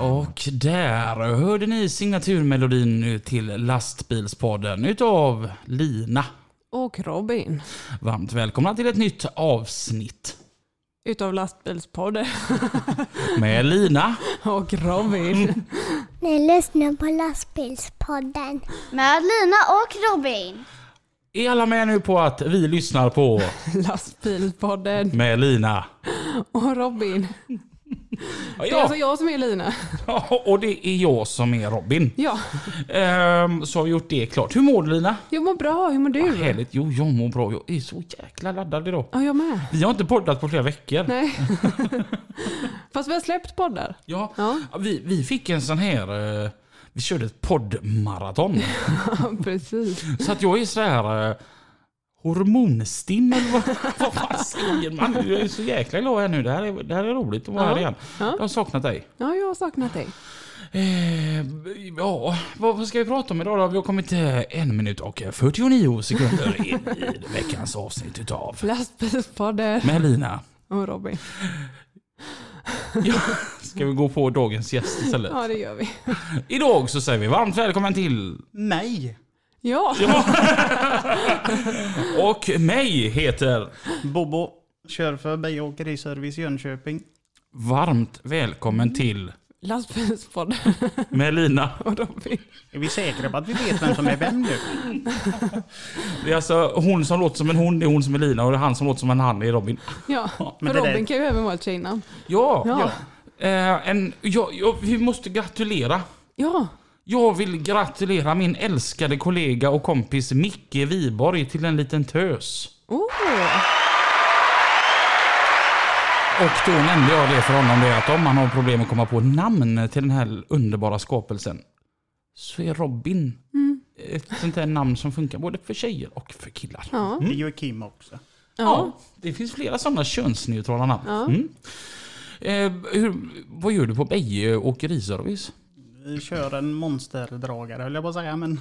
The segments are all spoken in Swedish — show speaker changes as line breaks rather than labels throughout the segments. Och där hörde ni signaturmelodin till Lastbilspodden utav Lina.
och Robin
Varmt välkomna till ett nytt avsnitt
utav Lastbilspodden
med Lina.
och Robin.
Ni lyssnar på Lastbilspodden.
Med Lina och Robin.
Är alla med nu på att vi lyssnar på
Lastbilspodden
med Lina?
och Robin.
Ja,
Det är alltså jag som är Lina.
ja, och det är jag som är Robin.
Ja,
Ehm, så har vi gjort det klart. Hur mår du Lina?
jag mår bra. Hur mår du?
Härligt. Jo, jag mår bra. Jag är så jäkla laddad idag.
Ja, jag med.
Vi har inte poddat på flera veckor.
Nej. Fast vi har släppt poddar.
Ja,
Ja.
Vi, vi fick en sån här... eh, Vi körde ett poddmaraton.
Ja, precis.
så att jag är så här... eh, Hormonstinn eller vad, vad fan säger man? Jag är så jäkla glad här nu. Det här är, det här är roligt att vara
Ja.
här igen.
Ja.
Jag har saknat dig.
Ja, jag har saknat dig.
Eh, ja, vad, vad ska vi prata om idag då? Vi har kommit till en minut och 49 sekunder in i veckans avsnitt utav
Lastbilspodden
Melina.
och Robin.
Ja, ska vi gå på dagens gäst istället?
Ja, det gör vi.
Idag så säger vi varmt välkommen till mig.
Ja,
Och mig heter
Bobo kör för Beijer Åkeriservice Jönköping.
varmt välkommen till
Lastbilspodden
Melina.
och Robin.
Är vi säkra på att vi vet vem som är vem nu?
Det är alltså hon som låter som en hon, det är hon som är Lina och det är han som låter som en han, det är Robin.
Ja,
men
för
det där-
Robin kan ju även vara ett tjejnamn.
Ja,
Ja.
Eh, en, ja, ja vi måste gratulera.
Ja,
Jag vill gratulera min älskade kollega och kompis Micke Viborg till en liten tös.
oh.
Och då nämnde jag det för honom det att om han har problem att komma på namn till den här underbara skapelsen så är Robin ett sånt här namn som funkar både för tjejer och för killar. Ja,
Det är ju Kim också.
ja.
det finns flera sådana könsneutrala namn. Mm. Eh, hur, vad gör du på Beje Åkeriservice?
Vi kör en monsterdragare höll jag på att säga, men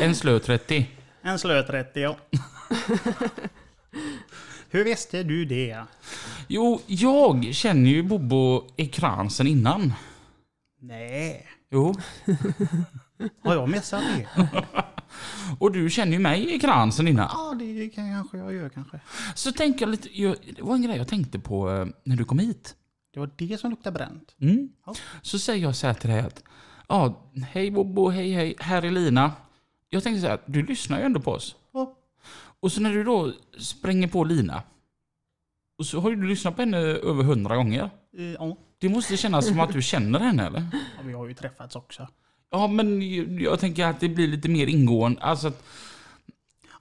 En slö 30.
en slöt ja. Hur visste du det?
Jo, jag känner ju Bobo Ekran sen innan.
Nej,
Jo.
har jag missat det?
Och du känner ju mig Ekran sen innan.
Ja, det kan kanske jag gör kanske.
Så tänker jag lite, jag, det var en grej jag tänkte på eh, när du kom hit.
Det var det som luktade bränt.
Mm.
Ja.
Så säger jag så här till dig att, ja, hej Bobo, hej hej, här är Lina. Jag tänkte så här, du lyssnar ju ändå på oss.
Ja.
Och så när du då spränger på Lina, och så har ju du lyssnat på henne över hundra gånger.
Eh, Ja,
Det måste kännas som att du känner henne eller?
Ja, vi har ju träffats också.
Ja men ju- jag tänker att det blir lite mer ingående, alltså att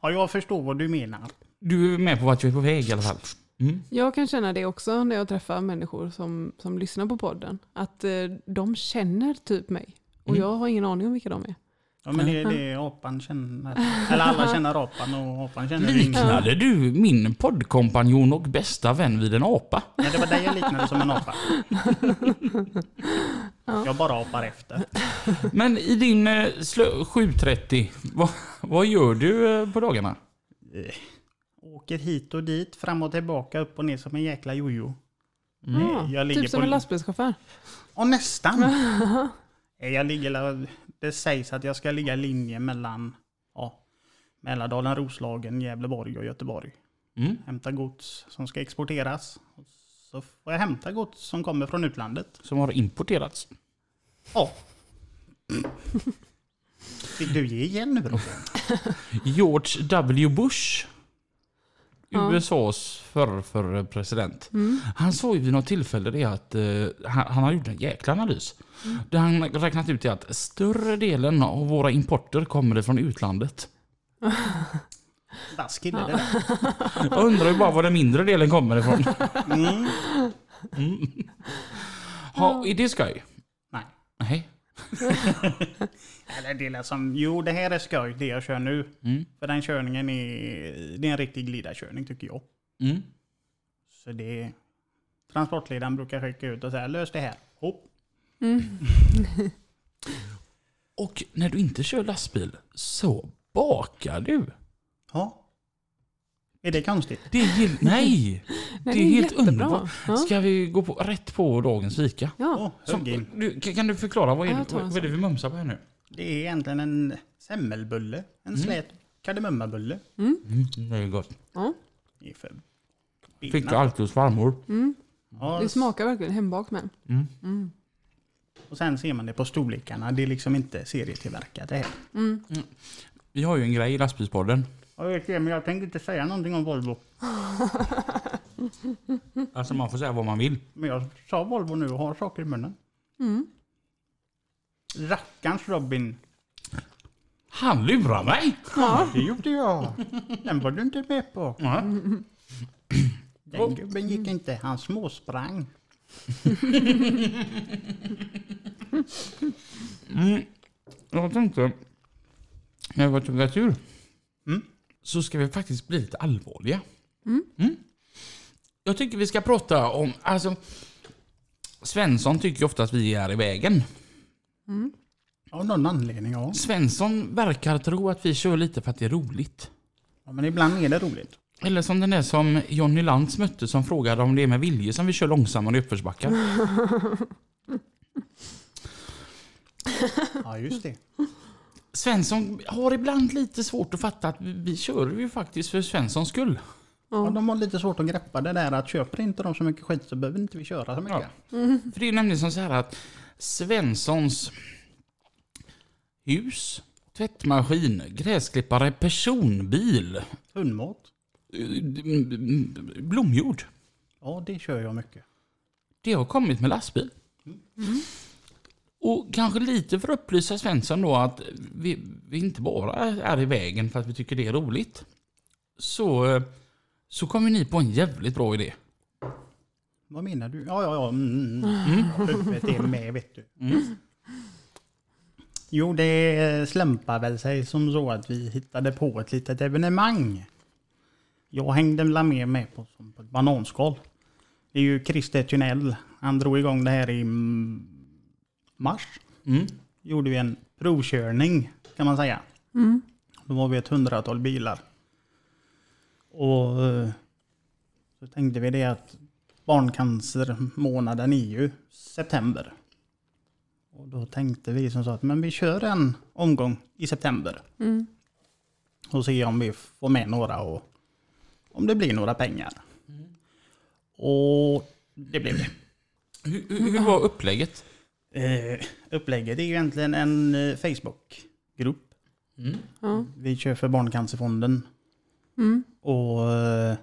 Ja, jag förstår vad du menar.
du är med på vart jag är på väg i alla fall. Mm.
Jag kan känna det också när jag träffar människor som, som lyssnar på podden. Att eh, de känner typ mig. Och
Mm.
jag har ingen aning om vilka de är.
Ja, men det är det apan känner. Eller alla känner apan och apan känner ingen.
Liknade du min poddkompanjon och bästa vän vid en apa?
Nej, det var dig jag liknade som en apa. Jag bara apar efter.
Men i din eh, slö- 730, vad, vad gör du eh, på dagarna?
Åker hit och dit, fram och tillbaka, upp och ner som en jäkla jojo.
Ja,
Jag ligger
typ som
på-
en lastbilschaufför.
Och nästan! Nej, jag ligger, där- det sägs att jag ska ligga i linje mellan ja, Mälardalen, Roslagen, Gävleborg och Göteborg.
Mm.
Hämta gods som ska exporteras. Och så får jag hämta gods som kommer från utlandet.
Som har importerats.
Ja. Fick du ge igen nu Robin?
George W Bush,
Ja.
USAs förre förre president. Han sa ju vid något tillfälle det att eh, han, han har gjort en jäkla analys. Där han räknat ut det att större delen av våra importer kommer från utlandet.
Vass kille det där.
Jag undrar ju bara var den mindre delen kommer ifrån.
Mm.
Mm. Ha, är det skoj?
Nej.
Nej.
Eller det lät som, jo det här är skoj det jag kör nu.
Mm.
För den körningen är, det är en riktig glidarkörning tycker jag.
Mm.
Så det Transportledaren brukar skicka ut och säga lös det här. Hopp.
Och när du inte kör lastbil så bakar du.
Ja. Är det konstigt?
Det är gill- Nej! Det är,
det är
helt
jättebra.
underbart.
Ja.
Ska vi gå på, rätt på dagens fika?
Ja,
Åh,
Som,
hugg in.
du, kan kan du förklara vad är,
Ja,
det-
jag tar en
vad är det vi mumsar på här nu?
Det är egentligen en semmelbulle. En slät kardemummabulle.
Mm, det är gott.
ja.
Det är för
Fick
fina.
du alltid hos farmor?
Mm.
Ja,
det smakar verkligen hembakt med.
Och sen ser man det på storlekarna. Det är liksom inte serietillverkat det här.
Vi har ju en grej i lastbilspodden.
Jag vet det, men jag tänkte inte säga någonting om Volvo.
Alltså man får säga vad man vill.
Men jag sa Volvo nu och har saker i munnen. Rackarns Robin.
Han lurar mig!
Det gjorde jag. Den var du inte med på.
Ja.
Den gubben gick inte. Han småsprang.
Jag tänkte, när jag var tog tur,
Mm.
så ska vi faktiskt bli lite allvarliga. Mm. Jag tycker vi ska prata om, alltså Svensson tycker ju ofta att vi är i vägen.
Av någon anledning, ja.
Svensson verkar tro att vi kör lite för att det är roligt.
ja men ibland är det roligt.
Eller som den där som Johnny Lantz mötte som frågade om det är med vilje som vi kör långsammare i uppförsbackar.
Ja, just det.
Svensson har ibland lite svårt att fatta att vi- vi kör ju faktiskt för Svenssons skull.
Ja, de har lite svårt att greppa det där att köper inte de så mycket skit så behöver inte vi köra så mycket.
För det är ju nämligen som så här att Svenssons hus, tvättmaskin, gräsklippare, personbil, eh,
Hundmat.
blomjord.
Ja, det kör jag mycket.
Det har kommit med lastbil. Och kanske lite för att upplysa Svensson då att vi, vi inte bara är i vägen för att vi tycker det är roligt. Så, så kom ju ni på en jävligt bra idé.
Vad menar du? Ja, ja, ja. Mm. Huvudet är med, vet du. Jo, det slämpar väl sig som så att vi hittade på ett litet evenemang. Jag hängde väl med, med på, som på ett bananskal. Det är ju Christer Thunell. Han drog igång det här i mm, mars.
Mm.
Gjorde vi en provkörning, kan man säga.
Mm.
Då var vi ett hundratal bilar. Och eh, så tänkte vi det att barncancermånaden är ju september. Och då tänkte vi som så att men vi kör en omgång i september.
Mm.
Och se om vi får med några och om det blir några pengar. Och det blev det.
Hur, hur hur var upplägget?
Eh, upplägget är ju egentligen en eh, Facebookgrupp.
Mm.
Ja.
Vi kör för Barncancerfonden.
Mm.
Och eh,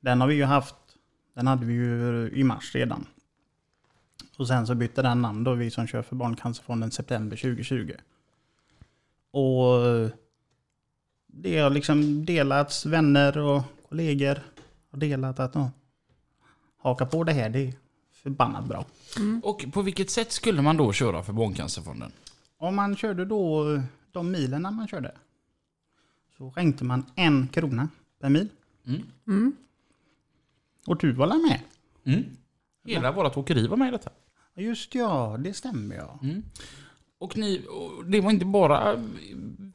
den har vi ju haft. Den hade vi ju i mars redan. Och sen så bytte den namn då, vi som kör för Barncancerfonden september 2020. Och eh, det har liksom delats, vänner och kollegor har delat att ja, haka på det här, det är förbannat bra.
Och på vilket sätt skulle man då köra för Barncancerfonden?
Om man körde då eh, de milerna man körde så skänkte man en krona per mil.
Mm.
Mm.
Och du var väl med?
Mm. Hela vårt åkeri var med i detta.
Just ja, det stämmer ja.
Och ni, och det var inte bara eh,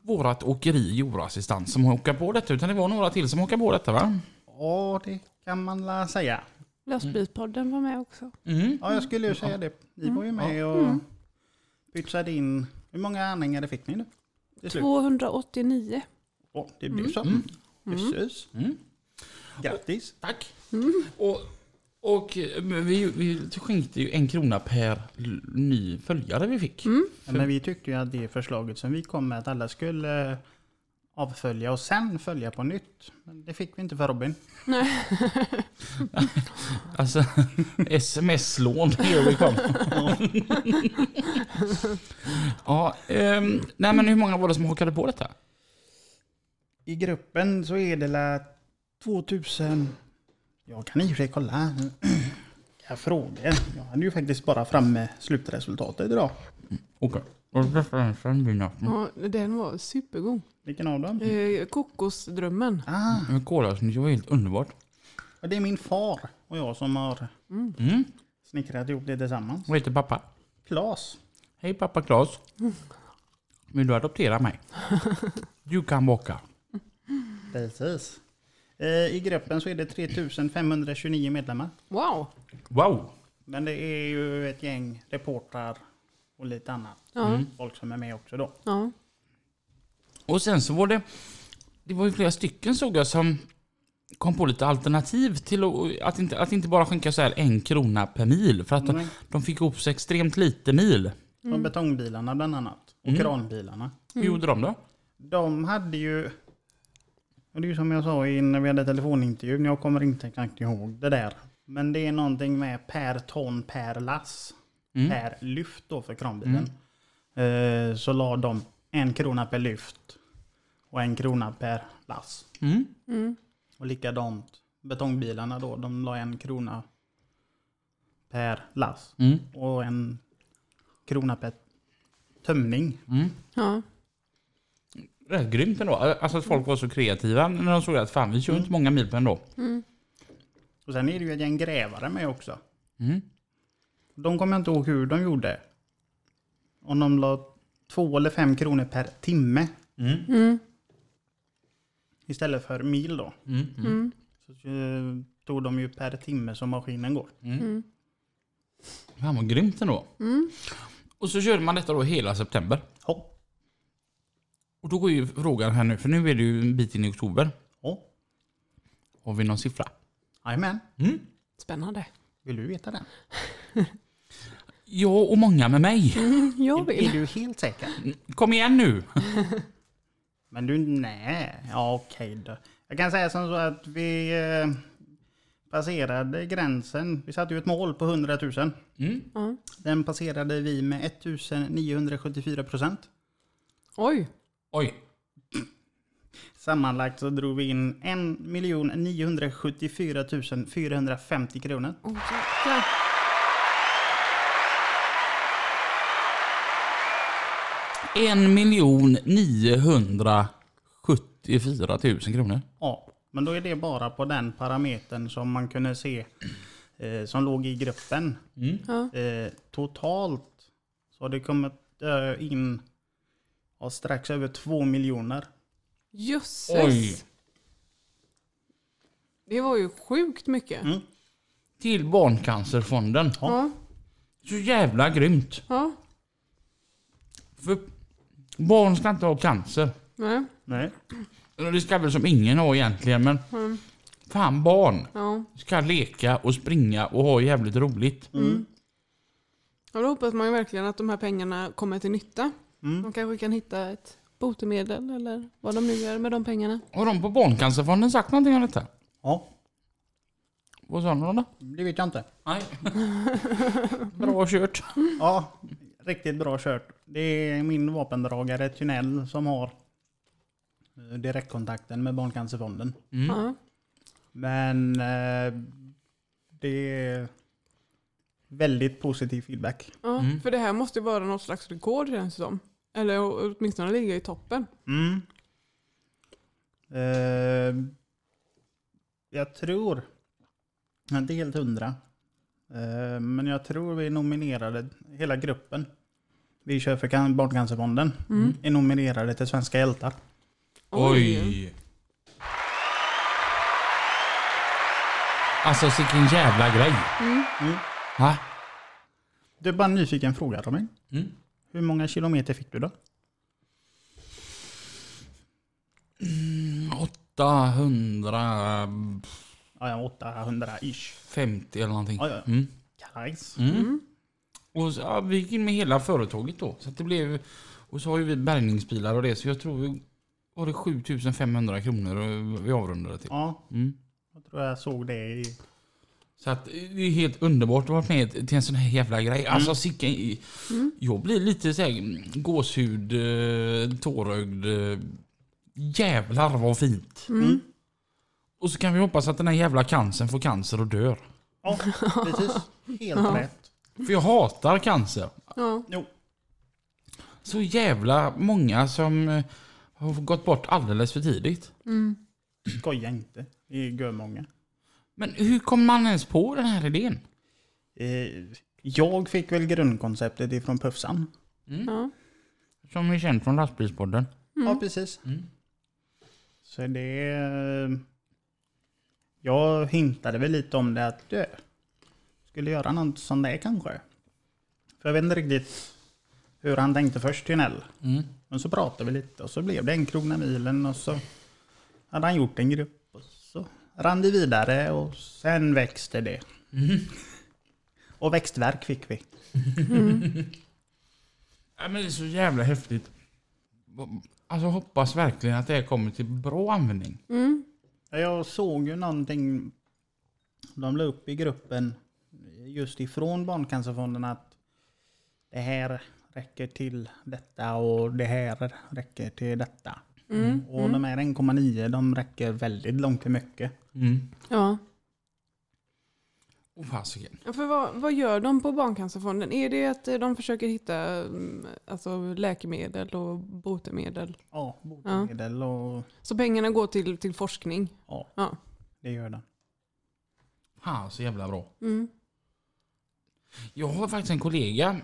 vårat åkeri Jorassistans som hakade på detta utan det var några till som hakade på detta va?
Ja, det kan man la säga.
Lastbilspodden var med också.
Mm.
Ja, jag skulle ju säga det. Ni var ju med och pytsade in. Hur många anhängare fick ni nu? Till slut.
289.
Ja, det blev så. Jösses.
Mm.
Grattis.
Tack. Och, och eh, vi, vi skänkte ju en krona per l- ny följare vi fick.
Ja, men vi tyckte ju att det förslaget som vi kom med att alla skulle eh, avfölja och sen följa på nytt. Men det fick vi inte för Robin.
Alltså sms-lån here we come. ja, ehm, nej men hur många var det som hakade på detta?
I gruppen så är det la 2000... Jag kan i och för sig kolla. Jag frågar. Jag hade ju faktiskt bara framme slutresultatet idag.
Okej. Och referensen blir natten.
Ja, den var supergod.
Vilken av dem?
Eh, kokosdrömmen.
Ah,
Kolasnittet var helt underbart.
och det är min far och jag som har
Mm.
snickrat ihop det tillsammans.
Vad heter pappa?
Klas.
Hej pappa Claes. Vill du adoptera mig? Du kan baka.
Precis. Eh, I gruppen så är det 3529 medlemmar.
Wow!
Wow!
Men det är ju ett gäng reportrar och lite annat.
Ja,
Folk som är med också då.
ja.
Och sen så var det... Det var ju flera stycken såg jag som kom på lite alternativ till att, att, inte, att inte bara skänka så här en krona per mil. För att de,
Nej.
de fick ihop så extremt lite mil.
Och betongbilarna bland annat. Och kranbilarna.
Hur gjorde de då?
De hade ju... Och det är ju som jag sa in när vi hade telefonintervjun. Jag kommer inte exakt ihåg det där. Men det är någonting med per ton per lass.
Mm.
Per lyft då för kranbilen. Eh, så la de en krona per lyft. Och en krona per lass.
Mm.
Och likadant betongbilarna då. De la en krona per lass.
Mm.
Och en krona per tömning.
ja.
Det är grymt ändå. Alltså att folk var så kreativa när de såg att fan vi kör ju inte många mil på ändå.
Och sen är det ju ett gäng grävare med också.
Mm.
De kommer jag inte ihåg hur de gjorde. Om de la två eller fem kronor per timme. Istället för mil då.
Mm. Mm.
Så eh, tog de ju per timme som maskinen går.
Fan vad grymt ändå. Och så körde man detta då hela september.
Ja.
Och då går ju frågan här nu, för nu är det ju en bit in i oktober.
Ja.
Har vi någon siffra?
Jajamän.
Spännande.
Vill du veta den?
Ja, och många med mig.
Jag
Är
vill.
du helt säker?
Kom igen nu!
Men du, nej. Ja, okej då. Jag kan säga som så att vi eh, passerade gränsen. Vi satte ju ett mål på 100 000.
Mm.
Den passerade vi med 1974 procent.
Oj!
Oj.
Sammanlagt så drog vi in 1 974 450 kronor.
Oh, jäklar.
En miljon 974 000 kronor.
Ja, men då är det bara på den parametern som man kunde se eh, som låg i gruppen.
Ja.
Eh, totalt så har det kommit eh, in ja, strax över 2 miljoner.
Jösses!
Oj.
Det var ju sjukt mycket.
Till Barncancerfonden.
Ja.
Så jävla grymt.
Ja.
För barn ska inte ha cancer.
Nej.
Nej.
Eller Det ska väl som ingen ha egentligen men... Fan barn
Ja.
ska leka och springa och ha jävligt roligt.
Ja, Då hoppas man ju verkligen att de här pengarna kommer till nytta. De kanske kan hitta ett botemedel eller vad de nu gör med de pengarna.
Har de på Barncancerfonden sagt någonting om detta?
Ja,
Vad sa de då?
det vet jag inte.
Nej. Bra kört.
Ja, riktigt bra kört. Det är min vapendragare Tynell som har eh, direktkontakten med Barncancerfonden.
Mm.
Ja.
Men eh, det är väldigt positiv feedback.
Ja. För det här måste ju vara något slags rekord känns det som. Eller å- åtminstone ligga i toppen.
Mm.
Eh, jag tror, jag är inte helt hundra, eh, men jag tror vi nominerade hela gruppen. Vi kör för Can- Barncancerfonden. Är nominerade till Svenska hjältar.
Alltså vilken jävla grej.
Mm.
Va?
Du är bara en nyfiken fråga Robin.
Mm.
Hur många kilometer fick du då?
850
Ja, ja, 800-ish.
eller någonting.
Ja, ja, ja.
Mm.
Nice.
Och så, ja, vi gick in med hela företaget då. Så att det blev, och så har ju vi bärgningsbilar och det. Så jag tror vi var det 7500 kronor och vi avrundade till.
Ja,
Mm.
jag tror jag såg det i...
Så att det är helt underbart att ha varit med till en sån här jävla grej. Alltså sicken... mm, Jag blir lite såhär gåshud, eh, tårögd, eh, Jävlar vad fint.
Mm.
Och så kan vi hoppas att den här jävla cancern får cancer och dör.
Ja, precis. Helt rätt.
För jag hatar cancer.
Ja.
Jo.
Så jävla många som eh, har gått bort alldeles för tidigt.
Mm.
Skoja inte. Det är görmånga.
Men hur kom man ens på den här idén?
Eh, jag fick väl grundkonceptet ifrån Puffsan.
Ja.
Som är känd från lastbilspodden.
Ja, precis. Så det... eh, Jag hintade väl lite om det att du skulle göra något sånt där kanske. För jag vet inte riktigt hur han tänkte först, Tinell.
Mm.
Men så pratade vi lite och så blev det en krona milen och så hade han gjort en grupp och så rann det vidare och sen växte det. Och växtverk fick vi.
Ja, men det är så jävla häftigt. Alltså hoppas verkligen att det här kommer till bra användning.
Ja, Jag såg ju någonting de la upp i gruppen just ifrån Barncancerfonden att det här räcker till detta och det här räcker till detta. Mm, Och de här 1,9 de räcker väldigt långt till mycket.
Mm.
ja.
Oh, fasiken.
Ja, För vad, vad gör de på Barncancerfonden? Är det att eh, de försöker hitta mm, alltså, läkemedel och botemedel?
Ja, botemedel och
Så pengarna går till, till forskning?
ja,
Ja.
det gör den.
Fan så jävla bra.
Mm.
Jag har faktiskt en kollega.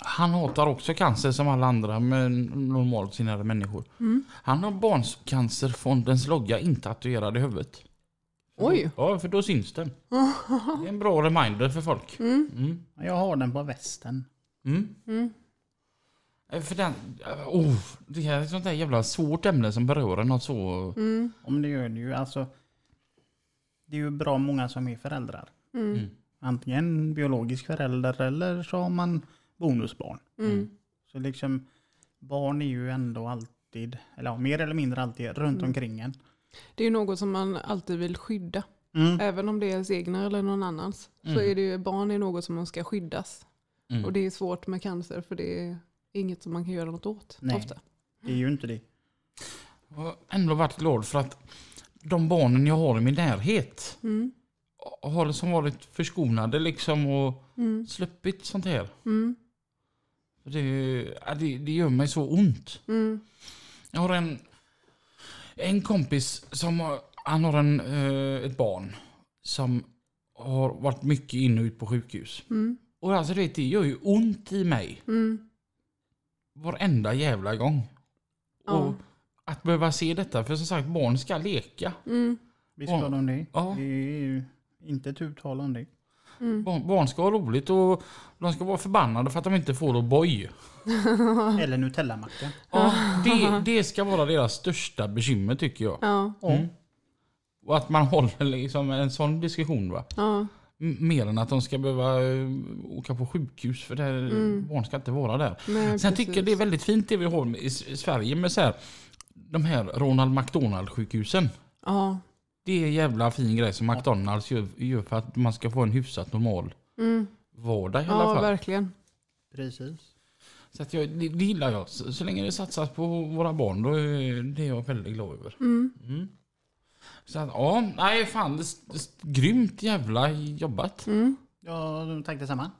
Han hatar också cancer som alla andra men normalt sinnade människor.
Mm.
Han har Barncancerfondens logga intatuerad i huvudet.
Oj!
Ja, för då syns den.
Mm,
Det är en bra reminder för folk. Mm.
Jag har den på västen.
Mm.
Mm.
Eh, För den, eh, oh, det här är ett sånt där jävla svårt ämne som berör något så...
Mm.
Om det gör det ju. Alltså, det är ju bra många som är föräldrar.
Mm.
Antingen biologisk förälder eller så har man bonusbarn.
Mm.
Så liksom barn är ju ändå alltid, eller ja, mer eller mindre alltid, runt
Mm.
omkring en.
Det är ju något som man alltid vill skydda.
Mm.
Även om det är ens egna eller någon annans. Så är det ju, barn är något som man ska skyddas.
Mm.
Och det är svårt med cancer för det är inget som man kan göra något åt.
Nej.
Ofta.
Det är ju inte det.
Jag har ändå varit glad för att de barnen jag har i min närhet
Mm.
har liksom varit förskonade liksom och
Mm.
sluppit sånt här.
Mm.
Det, ja, det, det gör mig så ont.
Mm.
Jag har en, en kompis som har, han har en, eh, ett barn som har varit mycket in och ut på sjukhus.
Mm.
Och alltså det, det gör ju ont i mig
Mm.
varenda jävla gång.
Ja.
Och att behöva se detta, för som sagt barn ska leka.
Mm.
Visst har de det?
Ja.
Det är ju inte ett uttal om det.
Barn, barn ska ha roligt och de ska vara förbannade för att de inte får O'boy.
Eller Nutellamacka.
Ja, det, det ska vara deras största bekymmer tycker jag.
Ja.
Mm.
Och att man håller liksom en sån diskussion. Va?
Ja.
M- Mer än att de ska behöva eh, åka på sjukhus för det här, barn ska inte vara där.
Nej,
Sen
Mm. precis.
tycker jag det är väldigt fint det vi har i S- i Sverige med så här, de här Ronald McDonald sjukhusen.
Ja.
Det är en jävla fin grej som McDonalds gör, gör för att man ska få en hyfsat normal
Mm.
vardag i alla
Ja,
fall.
verkligen.
Precis.
Så att jag, det, det gillar jag. Så, så länge det satsas på våra barn, då är det är jag väldigt glad över. Mm. Så att, ja, nej fan, det, det, grymt jävla jobbat.
Ja, tack detsamma.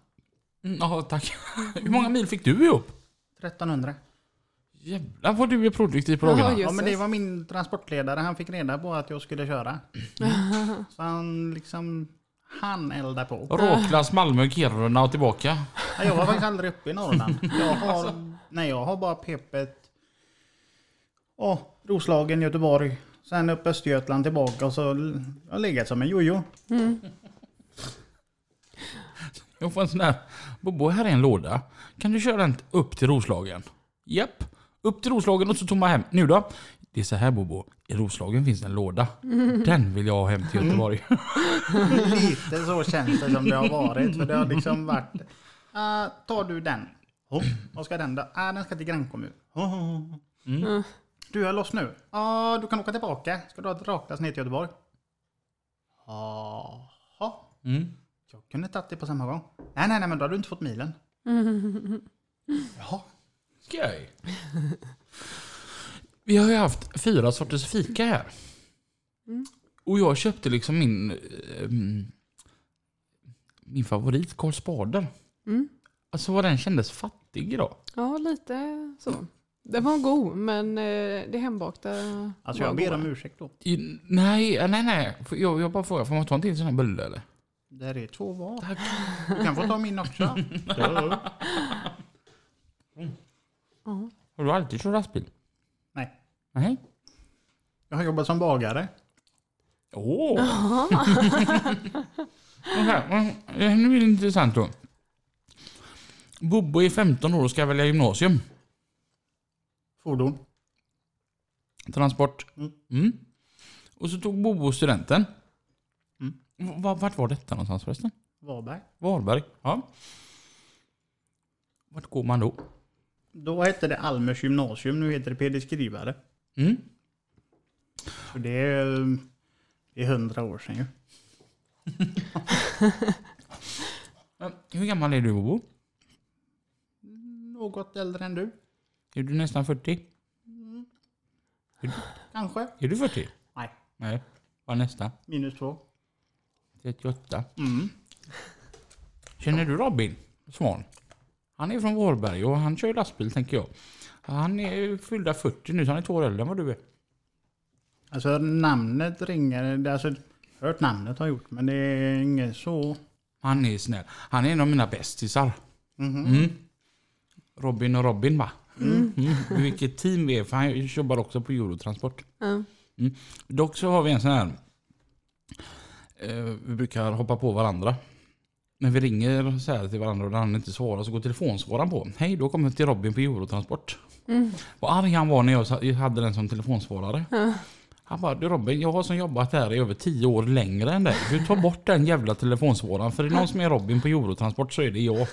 Mm, Ja, tack. Hur många mil fick du ihop?
1300.
Jävlar vad du är produktiv på
Jaha,
dagarna.
ju.
Ja, men det
Jösses.
var min transportledare. Han fick reda på att jag skulle köra. Så han liksom, han eldar på.
Råklas, Malmö, Kiruna och tillbaka.
Ja, Jag var faktiskt aldrig uppe i Norrland. Jag har, nej, jag har bara pepet. Åh, Roslagen, Göteborg. Sen upp Östergötland tillbaka och så l- jag har legat som en jojo.
Jag får en sån där. Bobo, här är en låda. Kan du köra den upp till Roslagen? Japp. Upp till Roslagen och så tomma hem. Nu då? Det är så här Bobo. I Roslagen finns en låda. Den vill jag ha hem till Göteborg.
Lite så känns det som det har varit. För det har liksom varit. ah, tar du den? Oh, vad ska den då? Ah, den ska till grannkommun. Oh, oh, oh. Du är loss nu. Ja, du kan åka tillbaka. Ska du ha ett raklass ner till Göteborg? Jaha.
Mm.
Jag kunde tagit det på samma gång. Nej, nej, nej, men då har du inte fått milen. Jaha.
Skoj. Vi har ju haft fyra sorters fika här.
Mm.
Och jag köpte liksom min, ehm, min favorit, Karl Spader.
Mm.
Alltså vad den kändes fattig idag.
Ja, lite så. Den var god, men eh, det hembakta
Alltså
var
jag ber
goda.
om ursäkt då.
I, nej, nej, nej. Får Jag, jag bara frågar, får man ta en till sån här bulle eller?
Där är två var.
Tack.
Du kan få ta min också. Ja.
Ja.
Har du alltid kört lastbil?
Nej.
Nej.
Jag har jobbat som bagare.
Åh! Okej, men det här nu är det intressant då. Bobbo är 15 år och ska välja gymnasium.
Fordon.
Transport.
Mm.
Mm. Och så tog Bobo studenten.
Mm.
V- va- Vart var detta någonstans förresten?
Varberg.
Varberg? Ja. Vart går man då?
Då hette det Almers gymnasium. Nu heter det PD Skrivare.
Mm.
Så det är eh, det är hundra år sedan ju.
Men Hur gammal är du Bobo?
Något äldre än du.
Är du nästan 40?
Kanske.
Är du 40?
Nej.
Nej. Vad nästa?
Minus två.
38.
Mm.
Känner du Robin Svan? Han är från Varberg och han kör lastbil tänker jag. Han är ju fyllda 40 nu så han är två år äldre än vad du är.
Alltså namnet ringer. Det är alltså, hört namnet har gjort men det är inget så.
Han är snäll. Han är en av mina bästisar.
Mhm.
Mm. Robin och Robin va? Mm. Vilket team vi är för han jobbar också på Eurotransport. Mm.
Ja.
Dock så har vi en sån här. Eh, vi brukar hoppa på varandra. När vi ringer så här till varandra och den andra inte svarar så går telefonsvararen på. Hej, då kommer jag till Robin på Eurotransport. Vad arg han var när jag sa- hade den som telefonsvarare. Han bara, du Robin, jag har som jobbat här i över tio år längre än dig. Du tar bort den jävla telefonsvararen. För är det någon som är Robin på Eurotransport så är det jag.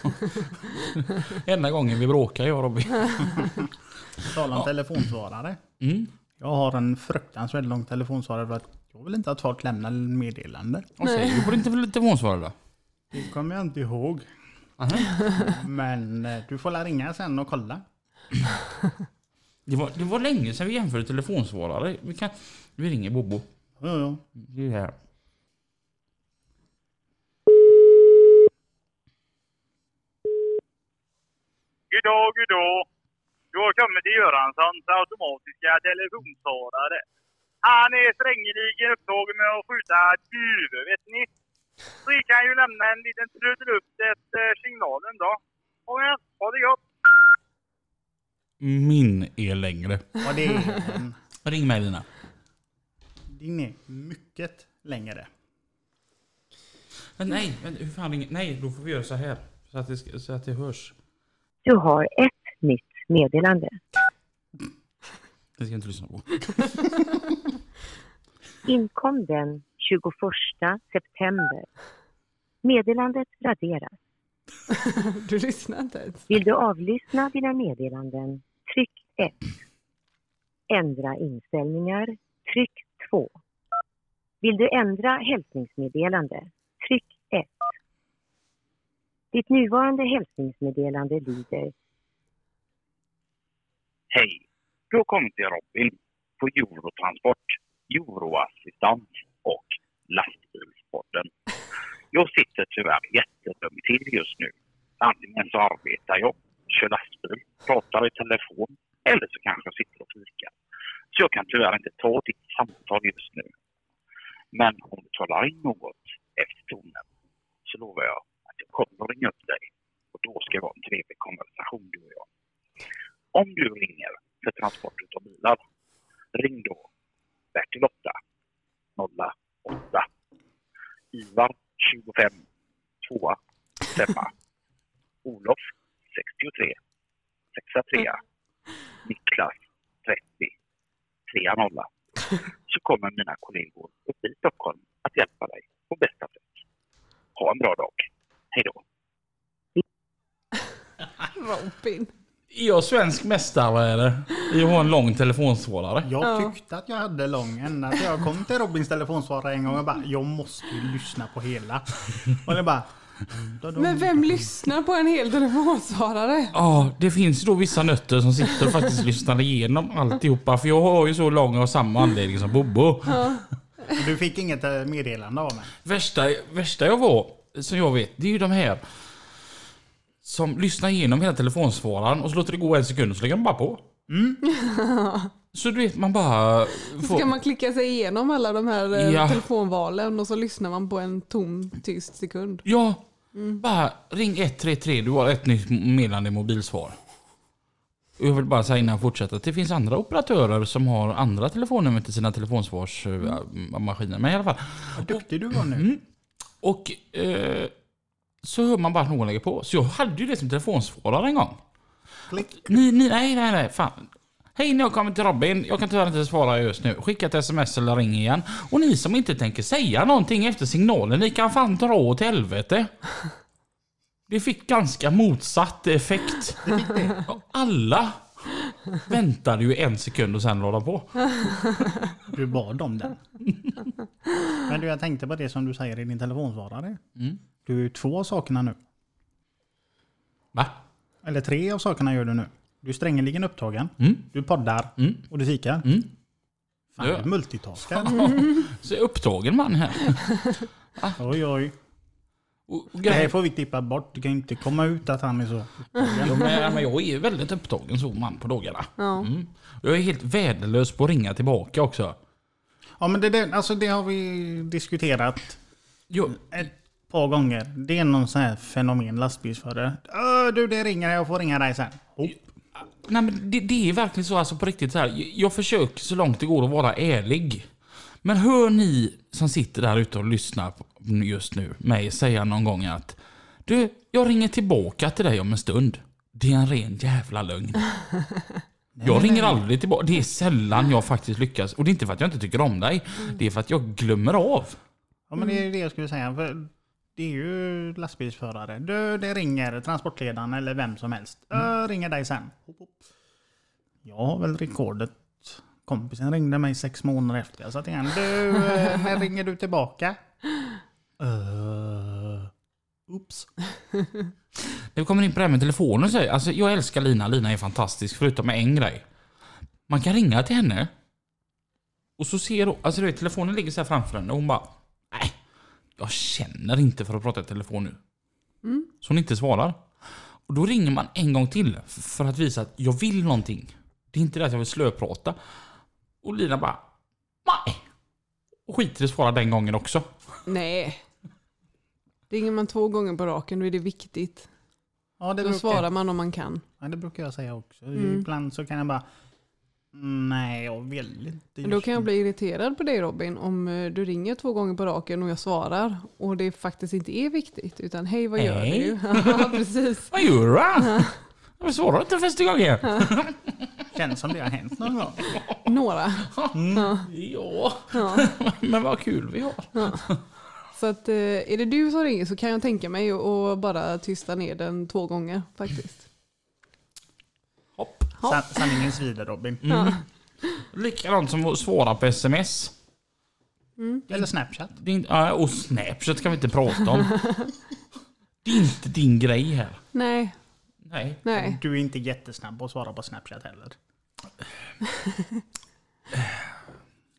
Enda gången vi bråkar jag och Robin.
Tala om telefonsvarare.
Mm.
Jag har en fruktansvärt lång telefonsvarare för att jag vill inte att folk lämnar meddelanden.
Och säger, du borde inte bli telefonsvarare då?
Det kommer jag inte ihåg.
Aha.
Men eh, du får la ringa sen och kolla.
Det var, det var länge sedan vi jämförde telefonsvarare. Vi, kan, vi ringer Bobo.
Ja, ja.
Det är det här.
Goddag, goddag. Du har kommit till Göranssons automatiska telefonsvarare. Han är strängeligen upptagen med att skjuta duvor, vet ni. Så vi kan ju lämna en liten trudelutt efter signalen då. Kom igen, ha det gott.
Min är längre.
Och det är en,
Ring mig Lina.
din är mycket längre.
Men nej, men hur fan ringer... Nej, då får vi göra så här. Så att det, ska- så att det hörs.
Du har ett nytt meddelande.
Det ska jag inte lyssna på.
Inkom den 21 september. Meddelandet raderas.
Du lyssnar inte ens.
Vill du avlyssna dina meddelanden? Tryck 1. Ändra inställningar? Tryck 2. Vill du ändra hälsningsmeddelande? Tryck 1. Ditt nuvarande hälsningsmeddelande lyder
Hej, du har kommit till Robin på Eurotransport, Euroassistans och Lastbilspodden. Jag sitter tyvärr jättedum till just nu. Antingen så arbetar jag, kör lastbil, pratar i telefon eller så kanske jag sitter och fikar. Så jag kan tyvärr inte ta ditt samtal just nu. Men om du talar in något efter tonen så lovar jag att jag kommer att ringa upp dig och då ska vi ha en trevlig konversation du och jag om du ringer för transport utav bilar, ring då Bertil 8 08 Ivar 25 2 5 Olof 63 63 Niklas 30 30 så kommer mina kollegor uppe i Stockholm att hjälpa dig på bästa sätt. Ha en bra dag. Hej då.
Robin.
Är jag svensk mästare eller? Jag har en lång telefonsvarare.
Ja.
Jag tyckte att jag hade lång ända till jag kom till Robins telefonsvarare en gång och bara jag måste ju lyssna på hela. Och det bara
Men vem lyssnar på en hel telefonsvarare?
Ja, det finns då vissa nötter som sitter och faktiskt lyssnar igenom alltihopa. För jag har ju så lång av samma anledning som Bobo.
Du fick inget eh, meddelande av mig?
Värsta, värsta jag var, som jag vet, det är ju de här som lyssnar igenom hela telefonsvararen och så låter det gå en sekund och så lägger de bara på. Mm. Så du vet, man bara...
Så
Får...
kan man klicka sig igenom alla de här eh,
Ja.
telefonvalen och så lyssnar man på en tom tyst sekund.
Ja, bara ring 133, du har ett nytt meddelande i mobilsvar. Och Jag vill bara säga innan jag fortsätter att det finns andra operatörer som har andra telefonnummer till sina telefonsvarsmaskiner. Men i alla fall.
Vad duktig du var nu.
Och eh, så hör man bara att någon lägger på. Så jag hade ju det som telefonsvarare en gång.
Klick.
Ni, ni, nej, nej, nej. Fan. Hej, nu har jag kommit till Robin. Jag kan tyvärr inte svara just nu. Skicka ett sms eller ring igen. Och ni som inte tänker säga någonting efter signalen, ni kan fan dra åt helvete. Det fick ganska motsatt effekt. Och Alla väntade ju en sekund och sen la de på.
Du bad om den. Men du, jag tänkte på det som du säger i din telefonsvarare. Du är ju två av sakerna nu.
Va?
Eller tre av sakerna gör du nu. Du är strängeligen upptagen.
Mm.
Du poddar.
Mm.
Och du fikar.
Mm.
Fan,
Ja.
du multitaskar.
Så är upptagen man här.
oj, oj.
Och, och
Det här
grejen,
får vi klippa bort. Du kan ju inte komma ut att han är så.
Jo, men, men jag är ju väldigt upptagen så man på dagarna.
Ja.
Mm. Jag är helt värdelös på att ringa tillbaka också.
Ja, men det, där- alltså, det har vi diskuterat
Jag,
ett par gånger. Det är någon sån här fenomen lastbilsförare. Öh, du, det ringer. Jag får ringa dig sen. Hopp.
Nej men det, det är verkligen så alltså på riktigt så här. Jag, jag försöker så långt det går att vara ärlig. Men hör ni som sitter där ute och lyssnar på just nu mig säga någon gång att du, jag ringer tillbaka till dig om en stund. Det är en ren jävla lögn. Jag ringer aldrig tillbaka. Det är sällan jag faktiskt lyckas. Och det är inte för att jag inte tycker om dig. Det är för att jag glömmer av.
Ja, men det
Mm.
är det jag skulle säga. För det är ju lastbilsförare. Du, det ringer transportledaren eller vem som helst.
Mm.
Jag ringer dig sen. Hopp, hopp. Jag har väl rekordet. Kompisen ringde mig sex månader efter. Jag sa till henne, du, eh, när ringer du tillbaka? Uh, oops.
När vi kommer in på det här med telefonen så är, alltså jag älskar Lina, Lina är fantastisk förutom med en grej. Man kan ringa till henne och så ser hon, alltså du vet telefonen ligger så här framför henne och hon bara Nej, jag känner inte för att prata i telefon nu. Så hon inte svarar. Och då ringer man en gång till f- för att visa att jag vill någonting. Det är inte det att jag vill slöprata. Och Lina bara Nej! Och skiter i att svara den gången också.
Nej. Ringer man två gånger på raken då är det viktigt.
Ja, det
Då svarar Mm.
brukar,
man om man kan.
ja, det brukar jag säga också. Ibland så kan jag bara, nej, jag vill inte.
Men då
just
kan jag
nu."
bli irriterad på dig Robin om eh, du ringer två gånger på raken och jag svarar och det faktiskt inte är viktigt utan hej vad gör
Hej.
du? Ja, precis.
Vad gör du? Jag svarar inte första gången.
Känns som det har hänt någon gång.
Några.
Ja, men vad kul vi har.
Så att, eh, är det du som ringer så kan jag tänka mig att- att bara tysta ner den två gånger faktiskt.
Hopp.
Ja.
San- Sanningen svider Robin.
Mm.
Likadant som att svara på sms.
Eller Snapchat.
Det är inte, ja, och Snapchat kan vi inte prata om. Det är inte din grej här.
Nej,
Nej.
nej.
Du är inte jättesnabb på att svara på Snapchat heller.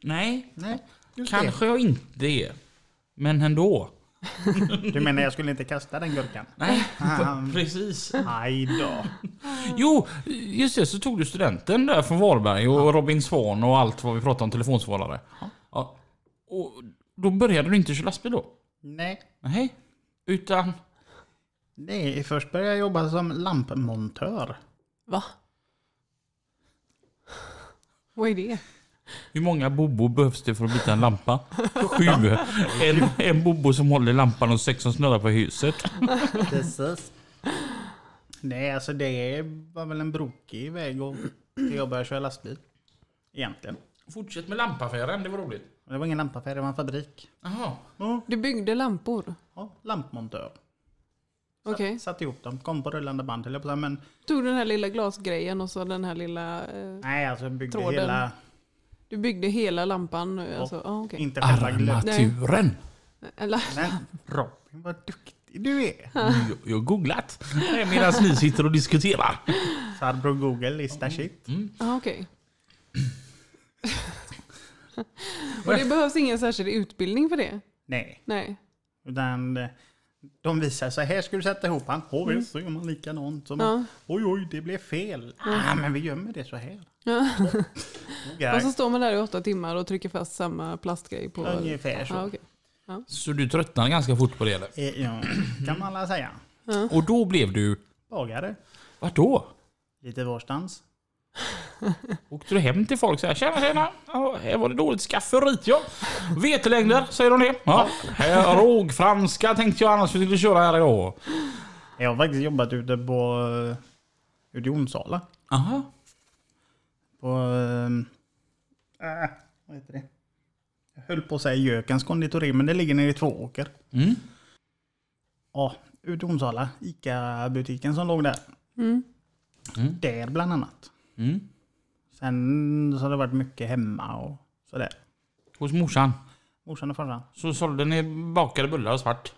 Nej,
Nej, just
kanske jag inte är. Men ändå.
det. Du menar jag skulle inte kasta den gurkan?
Nej,
Ah.
precis.
Aj då.
Jo, just det, så tog du studenten där från Varberg och Robin Svan och allt vad vi pratade om, telefonsvarare. Ja. Och då började du inte köra lastbil då?
Nej.
Nej. Utan?
Nej, först började jag jobba som lampmontör.
Va? Vad är det?
Hur många bobo behövs det för att byta en lampa? Sju. En, en bobo som håller lampan och sex som snurrar på huset.
Precis. Nej, alltså det var väl en brokig väg och till jag började köra lastbil. Egentligen.
Fortsätt med lampaffären, det var roligt.
Och Det var ingen lampaffär, det var en fabrik.
Jaha.
Du byggde lampor?
Ja, lampmontör.
Okej.
Satte ihop dem, kom på rullande band höll jag på att säga, men
Tog den här lilla glasgrejen och så den här lilla... Eh,
nej alltså jag byggde
Tråden.
hela,
du byggde hela lampan? eh, Alltså, ja, okej.
inte själva glöden.
Armaturen.
Eller,
Men Robin var duktig. du är.
Jag- Jag har googlat medan ni sitter och diskuterar.
Farbror Google is the shit.
Ja, okej. och det behövs ingen särskild utbildning för det?
Nej,
Nej.
utan eh, de visar så här ska du sätta ihop han. Oj, så gör man likadant. Som,
Ja.
Oj, oj, det blev fel. Ah, men vi gömmer det så här.
Ja.
Okej.
Och så står man där i åtta timmar och trycker fast samma plastgrej på...
Ungefär så.
Ja, okej.
Så du tröttnade ganska fort på det eller?
Eh, ja, kan man alla säga.
Och då blev du,
Bagare,
vart då?
lite varstans.
Åkte du hem till folk så här, tjena tjena, ja, här var det dåligt skafferiet ja. Vetelängder, säger de det? Ja. Här, Rågfranska tänkte jag annars vi skulle köra här idag.
Jag har faktiskt jobbat ute på, eh, ute i Onsala.
Aha.
På... ehm, Äh, vad heter det? Jag höll på att säga Jökens konditori, men det ligger nere i Tvååker.
Mm.
Ja, ute i Onsala. Ica-butiken som låg där.
Mm.
Mm.
Där bland annat.
Mm.
Sen så har det varit mycket hemma och sådär.
Hos morsan.
Morsan och farsan.
Så sålde ni bakade bullar och svart.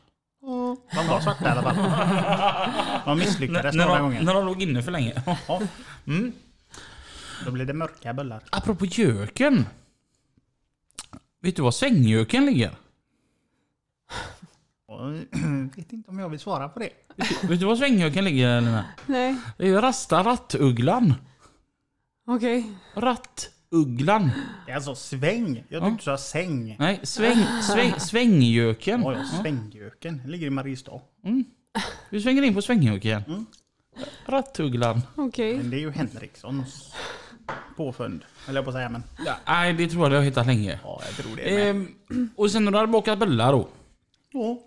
De var svarta i alla fall. De misslyckades
när,
några
de-
gånger.
när de låg inne för länge.
Ja,
Mm.
då blir det mörka bullar.
Apropå göken. Vet du var svängjöken ligger?
Och, vet inte om jag vill svara på det.
Vet du var svängjöken ligger Lina?
Nej,
Det är ju rasta rattugglan.
okej.
Rattugglan.
Det är alltså sväng. Jag tyckte du sa säng.
Nej, sväng, sväng, svängjöken.
Ja, ja, svängjöken. Den ligger i Mariestad.
Du svänger in på svängjöken. Rattugglan.
Okej.
Men det är ju Henrikssons påfund. Eller jag på att säga, men
Ja, Nej, det tror jag du har hittat länge.
ja, jag tror det. Med.
Ehm, och sen när du hade bakat bullar då.
Då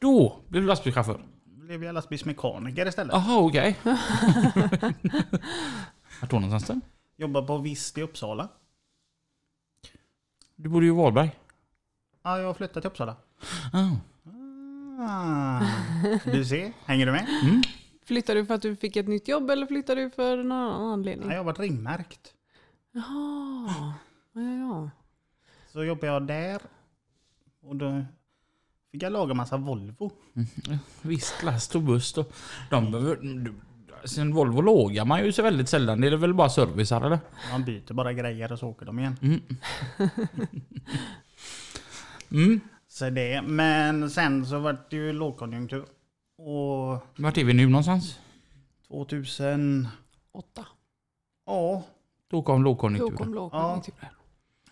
Då blev du lastbilschaufför.
blev jag lastbilsmekaniker istället.
Jaha, okej. Vart då någonstans då?
Jobbar på Visst i Uppsala.
Du bor ju i Varberg.
Ja, jag har flyttat till Uppsala.
Ah.
Ah, du ser, hänger du med?
Flyttade du för att du fick ett nytt jobb eller flyttade du för någon annan
Ja,
anledning?
jag har varit ringmärkt.
Jaha. Ja, ja, ja.
Så jobbar jag där. Och då fick jag laga massa Volvo.
Visst, last och buss då. De behöver... du- Sen Volvo lågar man ju så väldigt sällan. Det är väl bara service här eller?
Man byter bara grejer och så åker de igen.
Mm.
Så det, men sen så var det ju lågkonjunktur. Och
Vart är vi nu någonstans?
2000...
Åtta.
Ja,
Då kom
Då kom
lågkonjunkturen.
lågkonjunkturen.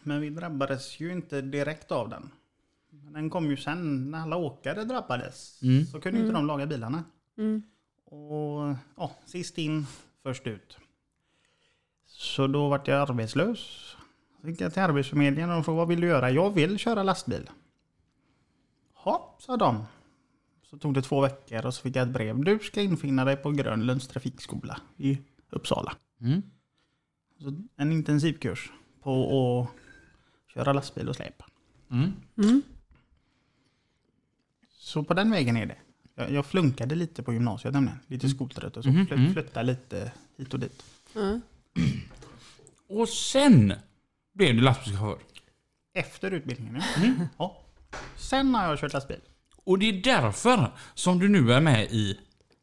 Men vi drabbades ju inte direkt av den. Men Den kom ju sen när alla åkare drabbades.
Mm.
Så kunde inte de laga bilarna.
Mm.
Och ja, sist in, först ut. Så då vart jag arbetslös. Så gick jag till Arbetsförmedlingen och de frågade vad vill du göra? Jag vill köra lastbil. Ja, sa de. Så tog det två veckor och så fick jag ett brev. Du ska infinna dig på Grönlunds trafikskola i Uppsala.
Mm.
Så en intensivkurs på att köra lastbil och släp.
Mm.
Mm.
Så på den vägen är det. Jag, jag flunkade lite på gymnasiet nämligen. Lite skoltrött och så.
Mhm,
Flyt,
mm.
flyttade lite hit och dit.
Ja.
Och sen blev du lastbilschaufför.
Efter utbildningen ja.
Mm.
ja. Sen har jag kört lastbil.
Och det är därför som du nu är med i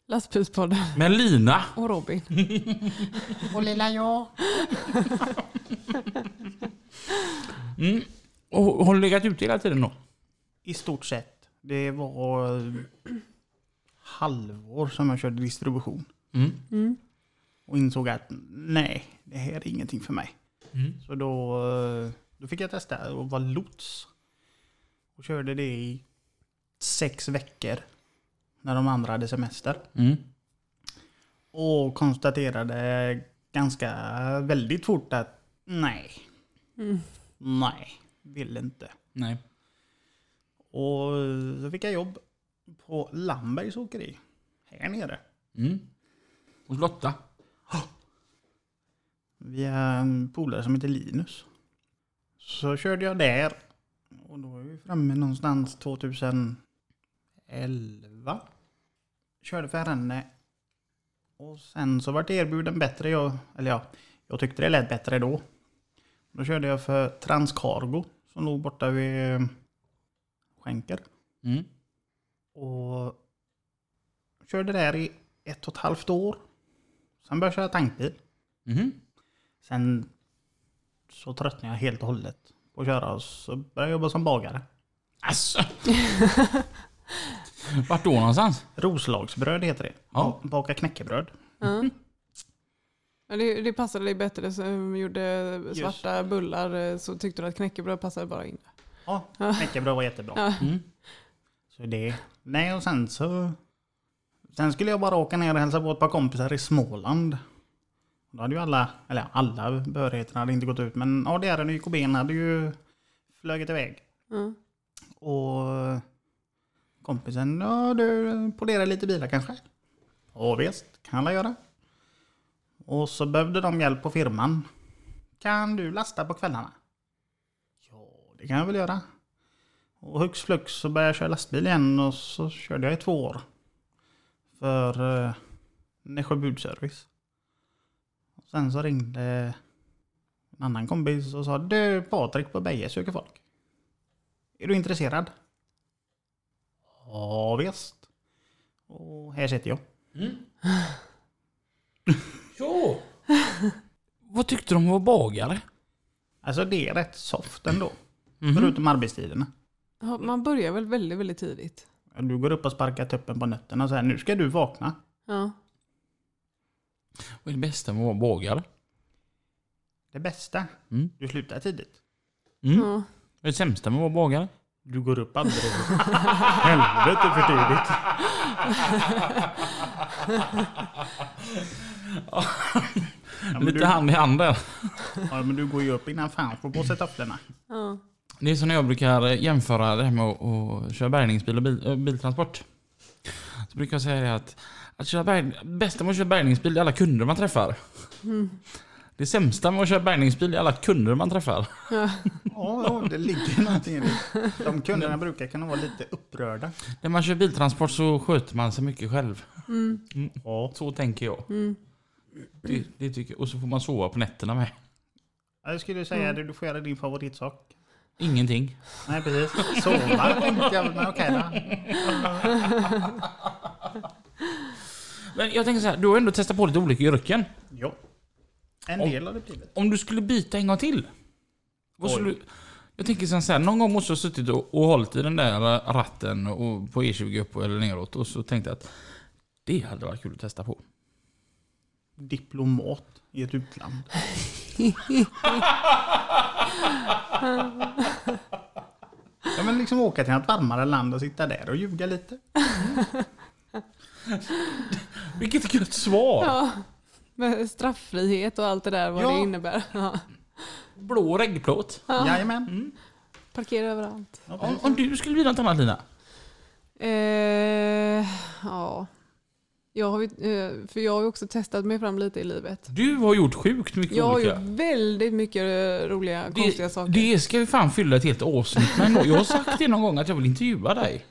Lastbilspodden
med Lina.
och Robin.
Och lilla jag.
Och har du legat ute hela tiden då?
I stort sett. Det var eh, halvår som jag körde distribution.
Mm.
Och insåg att nej, det här är ingenting för mig.
Mm.
Så då, eh, då fick jag testa att vara lots. Och körde det i sex veckor. När de andra hade semester.
Mm.
Och konstaterade ganska väldigt fort att nej. Nej, vill inte.
Nej.
Och så fick jag jobb på Lambergs åkeri. Här nere.
Mm. Hos Lotta.
Via en polare som heter Linus. Så körde jag där. Och då är vi framme någonstans 2011. Körde för henne. Och sen så vart jag erbjuden bättre. Jag, eller ja, jag tyckte det lät bättre då. Då körde jag för Transcargo som låg borta vid Skänker.
Mm.
Och Körde där i ett och ett halvt år. Sen började jag köra tankbil.
Mhm.
Sen så tröttnade jag helt och hållet på att köra och så började jag jobba som bagare.
Alltså. Vart då någonstans?
Roslagsbröd heter det.
Ja.
Baka knäckebröd.
Ja. Ja, det, det passade dig bättre som gjorde svarta bullar eh, så tyckte du att knäckebröd passade bara in.
Ja, knäckebröd var jättebra. Mm.
Ja.
Så det. Nej, och sen så... Sen skulle jag bara åka ner och hälsa på ett par kompisar i Småland. Då hade ju alla, eller alla behörigheterna hade inte gått ut, men ADR och YKB hade ju flugit iväg.
Ja.
Och kompisen, ja du polerar lite bilar kanske? Ja visst, kan alla göra. Och så behövde de hjälp på firman. Kan du lasta på kvällarna? Ja, det kan jag väl göra. Och hux flux så började jag köra lastbil igen och så körde jag i två år. För eh, Nässjö budservice. Och sen så ringde en annan kompis och sa Du Patrik på Beje söker folk. Är du intresserad? Ja visst. Och här sitter jag.
Jo. Vad tyckte de var bagare?
Alltså det är rätt soft ändå. Förutom arbetstiderna.
Ja, Man börjar väl väldigt, väldigt tidigt.
Du går upp och sparkar tuppen på nötterna och säger nu ska du vakna.
Ja.
Vad är det bästa med att vara bagare?
Det bästa,
Mm.
du slutar tidigt.
Mm.
Ja.
Vad är det sämsta med att vara bagare?
Du går upp aldrig. Helvete för tidigt. ja, men
Lite
du,
hand i hand där.
ja, men du går ju upp innan fan får på sig tofflorna.
Ja.
Det är som när jag brukar jämföra det här med att, att köra bärgningsbil och bil, äh, biltransport. Så brukar jag säga det att, att köra bärg, bästa med att köra bärgningsbil är alla kunder man träffar.
Mm.
Det sämsta med att köra bärgningsbil är alla kunder man träffar.
Ja, ja, det ligger någonting i det. De kunderna brukar kunna vara lite upprörda.
När man kör biltransport så sköter man sig mycket själv.
Mm.
Mm.
Ja.
Så tänker jag. Det, det tycker jag. Och så får man sova på nätterna med.
Jag skulle säga det, du får göra din favoritsak.
Ingenting.
Nej precis, sova tänkte jag, men okej då.
Men jag tänker så här, du har ändå testat på lite olika yrken.
Jo. En del har det blivit.
Om du skulle byta en gång till? Vad
Oj.
skulle, du- jag tänker så här, någon gång måste jag ha suttit och, och hållit i den där ratten och, på E20 upp eller neråt och så tänkte jag att det hade varit kul att testa på.
Diplomat i ett utland. ja men liksom åka till något varmare land och sitta där och ljuga lite.
Vilket gött svar!
ja. Med strafffrihet och allt det där vad
Ja.
det innebär. Ja.
Blå reggplåt.
Jajamän.
Parkera överallt.
Om, om du skulle bli något annat Lina?
Eh, ja. Jag har, ju- eh, för jag har ju också testat mig fram lite i livet.
Du har gjort sjukt mycket
Jag har
olika.
gjort väldigt mycket eh, roliga, konstiga
det,
saker.
det ska vi fan fylla ett helt avsnitt med ändå. Jag har sagt det någon gång att jag vill intervjua dig.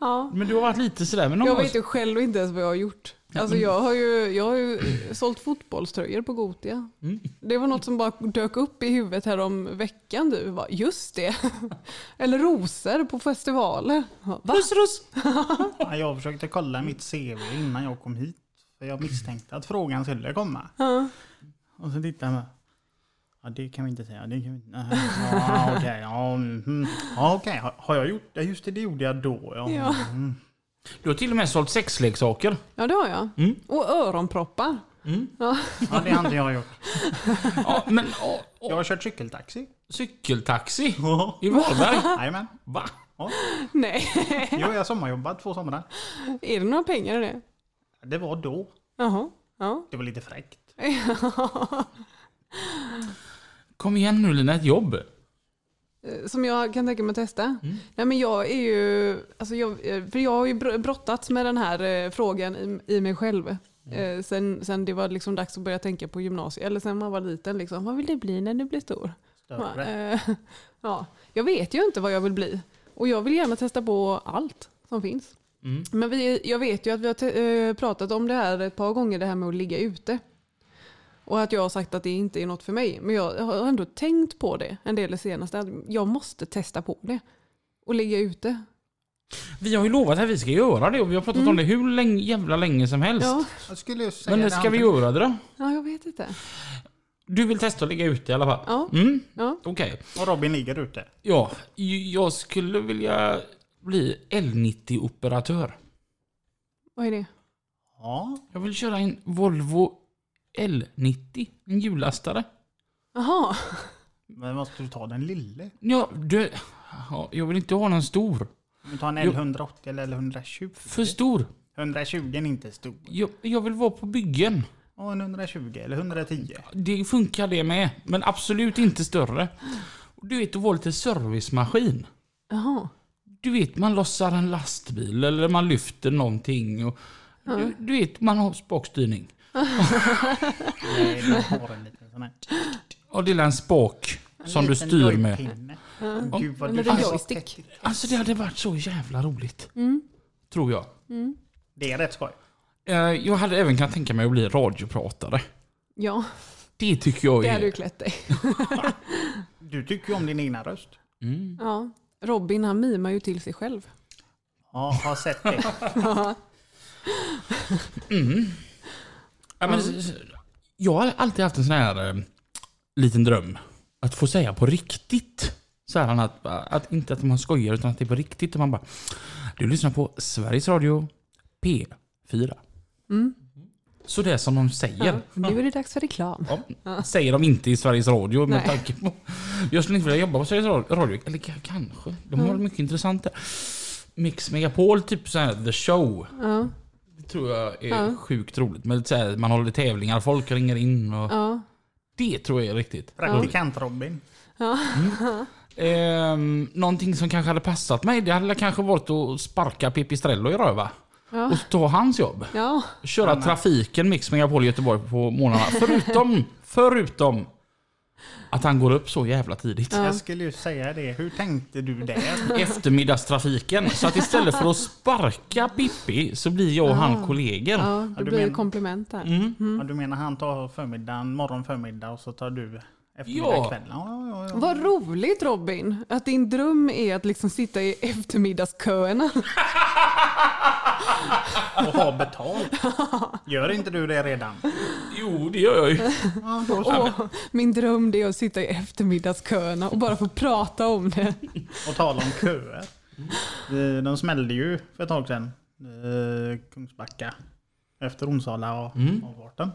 Ja.
Men du har varit lite sådär. Men någon
Jag
gång-
vet ju själv inte ens vad jag har gjort. Alltså jag har ju, jag har ju sålt fotbollströjor på Gotia.
Mm.
Det var något som bara dök upp i huvudet här om veckan. Du bara, just det. Eller rosor på festivaler. Jag bara, Va?
Ja, Jag försökte kolla mitt CV innan jag kom hit. För jag misstänkte att frågan skulle komma. Och så tittade jag. Ja det kan vi inte säga. Det kan vi inte. Nej, Ja, okej. Ja, mm. ja, okej. Har- Har jag gjort det? Just det, det gjorde jag då. Ja.
Ja.
Mm.
Du har till och med sålt sexleksaker.
Ja det har jag.
Mm.
Och öronproppar. Ja.
ja det har inte jag gjort.
Ja, men, och,
Jag
och,
har kört cykeltaxi.
cykeltaxi i Varberg?
Jajamän.
Va?
Ja.
Nej,
Jo, jag har sommarjobbat två somrar.
är det några pengar i det?
Det var då.
Jaha. Ja.
Det var lite fräckt.
Kom igen nu Lina, ett jobb.
Eh, Som jag kan tänka mig att testa. Nej, men jag är ju, alltså jag, eh, för jag har ju br- brottats med den här eh, frågan i, i mig själv. Eh, sen, sen det var liksom dags att börja tänka på gymnasiet, eller sen man var liten. Liksom, vad vill du bli när du blir stor? Ja,
Större.
eh, ja. Jag vet ju inte vad jag vill bli. Och jag vill gärna testa på allt som finns. Men vi, jag vet ju att vi har te- eh, pratat om det här ett par gånger, det här med att ligga ute. Och att jag har sagt att det inte är något för mig. Men jag har ändå tänkt på det en del det senaste. Att jag måste testa på det. Och ligga ute.
Vi har ju lovat att vi ska göra det och vi har pratat om det hur länge, jävla länge som helst.
Mm. Ja,
Jag skulle ju säga
Men när
det,
ska vi
Anton.
göra det då?
ja, jag vet inte.
Du vill testa att ligga ute i alla fall?
Ja.
Mm,
Ja.
okej.
Och Robin ligger ute.
Ja, j- jag skulle vilja bli L90-operatör.
Vad är det?
Ja,
Jag vill köra en Volvo L90, en hjullastare.
Jaha,
men måste du ta den lille?
Ja, du... Ja, jag vill inte ha någon stor.
Om du tar en
Jo.
L180 eller L120?
För stor.
120 är inte stor.
Jag, jag vill vara på byggen.
Ja, en 120 eller 110.
Det funkar det med, men absolut inte större. Och Du vet, att vara lite servicemaskin.
jaha.
Du vet, man lossar en lastbil eller man lyfter någonting. Och du, du vet, man har spakstyrning.
Nej, du har en liten sån här.
Och det är en spak som du
Liten
styr med.
löjpinne. Gud vad
En
du
liten
Alltså,
joystick.
Alltså det hade varit så jävla roligt. Tror jag.
Det är rätt skoj.
Eh, Jag hade även kunnat tänka mig att bli radiopratare.
Ja,
Det tycker jag
det hade du
är...
klätt dig.
Du tycker ju om din egna röst.
Ja. Robin han mimar ju till sig själv.
Ja, har sett det.
Ja, men, s- s- jag har alltid haft en sån här eh, liten dröm. Att få säga på riktigt. Så här, att, att, inte att man skojar utan att det är på riktigt. Och man bara, du lyssnar på Sveriges Radio P4. Så det är som de säger.
Mm. Ja. Nu är det dags för reklam.
Ja. Säger de inte i Sveriges Radio med
Nej.
tanke på... Jag skulle inte vilja jobba på Sveriges Radio. radio eller k- kanske. De har mycket intressant där. Mix Megapol, typ så här The Show.
Ja.
Det tror jag är
Ja.
sjukt roligt. Men så här, man håller tävlingar, folk ringer in och...
Ja.
Det tror jag är riktigt.
Praktikant-Robin.
Ehm, någonting som kanske hade passat mig, det hade kanske varit att sparka Pipistrello i röva.
Ja.
Och ta hans jobb.
Ja.
Köra trafiken Mix Megapol i Göteborg på morgnarna. Förutom, förutom att han går upp så jävla tidigt.
Jag skulle ju säga det. Hur tänkte du där?
Eftermiddagstrafiken. Så att istället för att sparka Pippi så blir jag och han kollegor.
ja, det
du
blir Mm.
men-
komplement där.
Ja, du menar han tar förmiddagen, morgon, förmiddag och så tar du eftermiddag,
Ja.
kväll? Ja, ja, ja.
Vad roligt Robin, att din dröm är att liksom sitta i eftermiddagsköerna.
Och ha betalt. Gör inte du det redan?
Jo, det gör jag ju.
Ja, då så.
Åh, min dröm det är att sitta i eftermiddagsköerna och bara få prata om det.
Och tala om köer. Eh, De smällde ju för ett tag sedan. eh, Kungsbacka. Efter Onsala och avfarten.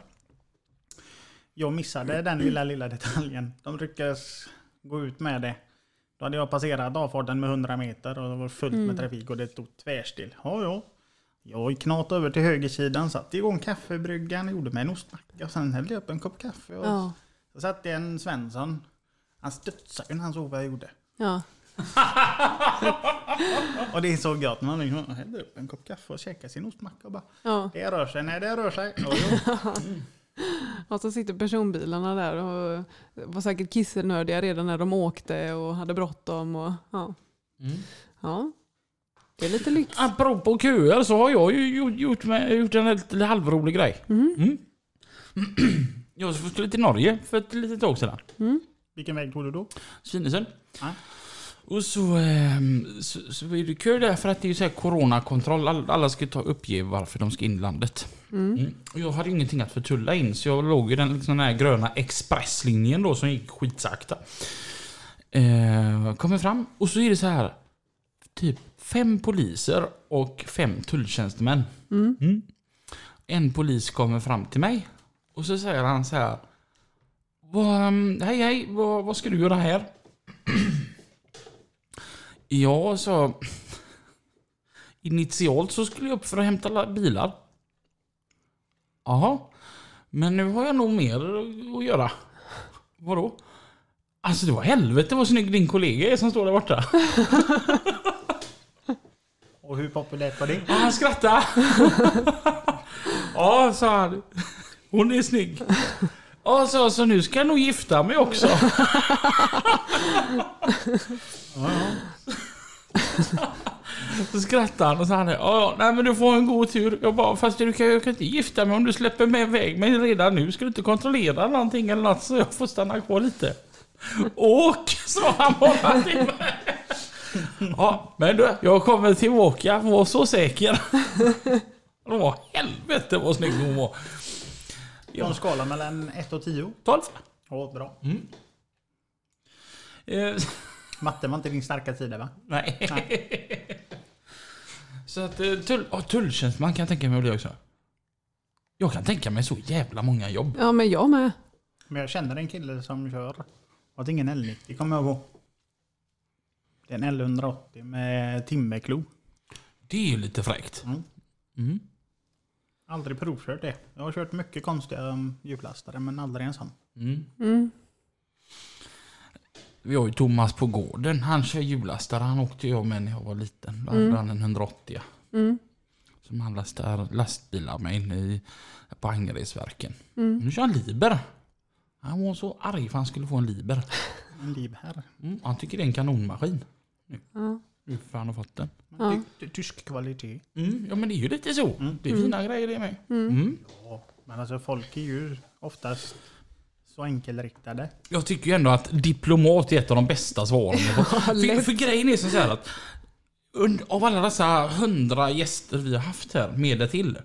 Jag missade den lilla, lilla detaljen. De lyckades gå ut med det. Då hade jag passerat avfarten med 100 meter och det var fullt med trafik och det stod tvärstill. Ja, ja. Jag knatade över till högersidan, satte igång kaffebryggan, gjorde mig en ostmacka och sen hällde jag upp en kopp kaffe. Och
Ja,
Så satt det en Svensson. Han studsade ju när han såg vad jag gjorde.
ja.
Och det är så gött när man liksom häller upp en kopp kaffe och käkar sin ostmacka och bara
ja.
Det rör sig, nej det rör sig. Ja, jo.
Och så sitter personbilarna där och var säkert kissnödiga redan när de åkte och hade bråttom. Och, ja. Mm. ja, det är lite lyx.
Apropå köer så har jag ju gjort, gjort, med, gjort en lite halvrolig grej. Mm. Jag skulle till Norge för ett litet tag sedan.
Vilken väg tog du då?
Svinesund.
Ja.
Och så, ehm, så, så är det kö där för att det är ju så här coronakontroll. All- Alla ska ju ta uppge varför de ska in i landet. Mm. Och Jag hade ju ingenting att förtulla in så jag låg i den, liksom, den här gröna expresslinjen då som gick skitsakta. Eh, kommer fram och så är det så här typ fem poliser och fem tulltjänstemän. Mm. En polis kommer fram till mig och så säger han så här. "Vad, ehm, Hej hej, vad, vad ska du göra här? ja, så Initialt så skulle jag upp för att hämta la- bilar. Jaha. Men nu har jag nog mer att göra. Vadå? Alltså det var helvete vad snygg din kollega är som står där borta.
Och hur populärt var det?
Ja, han skrattade. ja, sa han. Hon är snygg. Ja, så, så nu ska jag nog gifta mig också. Så skrattade han och sa han, ja, ja, nej men du får en god tur. Jag bara, fast du kan, jag kan inte gifta mig om du släpper mig iväg mig redan nu. Ska du inte kontrollera någonting eller något så jag får stanna kvar lite? Åk, sa han bara till mig. Ja, men du, jag kommer tillbaka. Var så säker. Åh, helvete vad snygg hon var.
På en skala mellan 1 och 10.
12.
Ja, bra.
Mm. Eh,
Matte var inte din starka sida va?
nej. så att eh, tull, oh, tulltjänsteman kan jag tänka mig att bli också. Jag kan tänka mig så jävla många jobb.
Ja, men jag med.
Men jag känner en kille som kör. Har ingen L90 kommer jag ihåg. Det är en L180 med timmerklo.
Det är ju lite fräckt.
Mm.
Mm.
Aldrig provkört det. Jag har kört mycket konstiga um, hjullastare men aldrig en sån.
Mm.
Mm.
Vi har ju Thomas på gården. Han kör hjullastare. Han åkte jag med när jag var liten. Då hade han en 180
Mm.
som han lastar lastbilar med inne i, på Angeredsverken.
Mm.
Nu kör han Liber. Han var så arg för han skulle få en Liber.
En liv här.
Mm, han tycker det är en kanonmaskin. Nu,
Ja.
nu för han har fått den.
Ty- ty- Tysk kvalitet.
Mm, ja men det är ju lite så. Det är fina grejer det med. Mm.
Ja, men alltså folk är ju oftast så enkelriktade.
Jag tycker ju ändå att diplomat är ett av de bästa svaren. för, för grejen är så här att und- av alla dessa hundra gäster vi har haft här, med det till.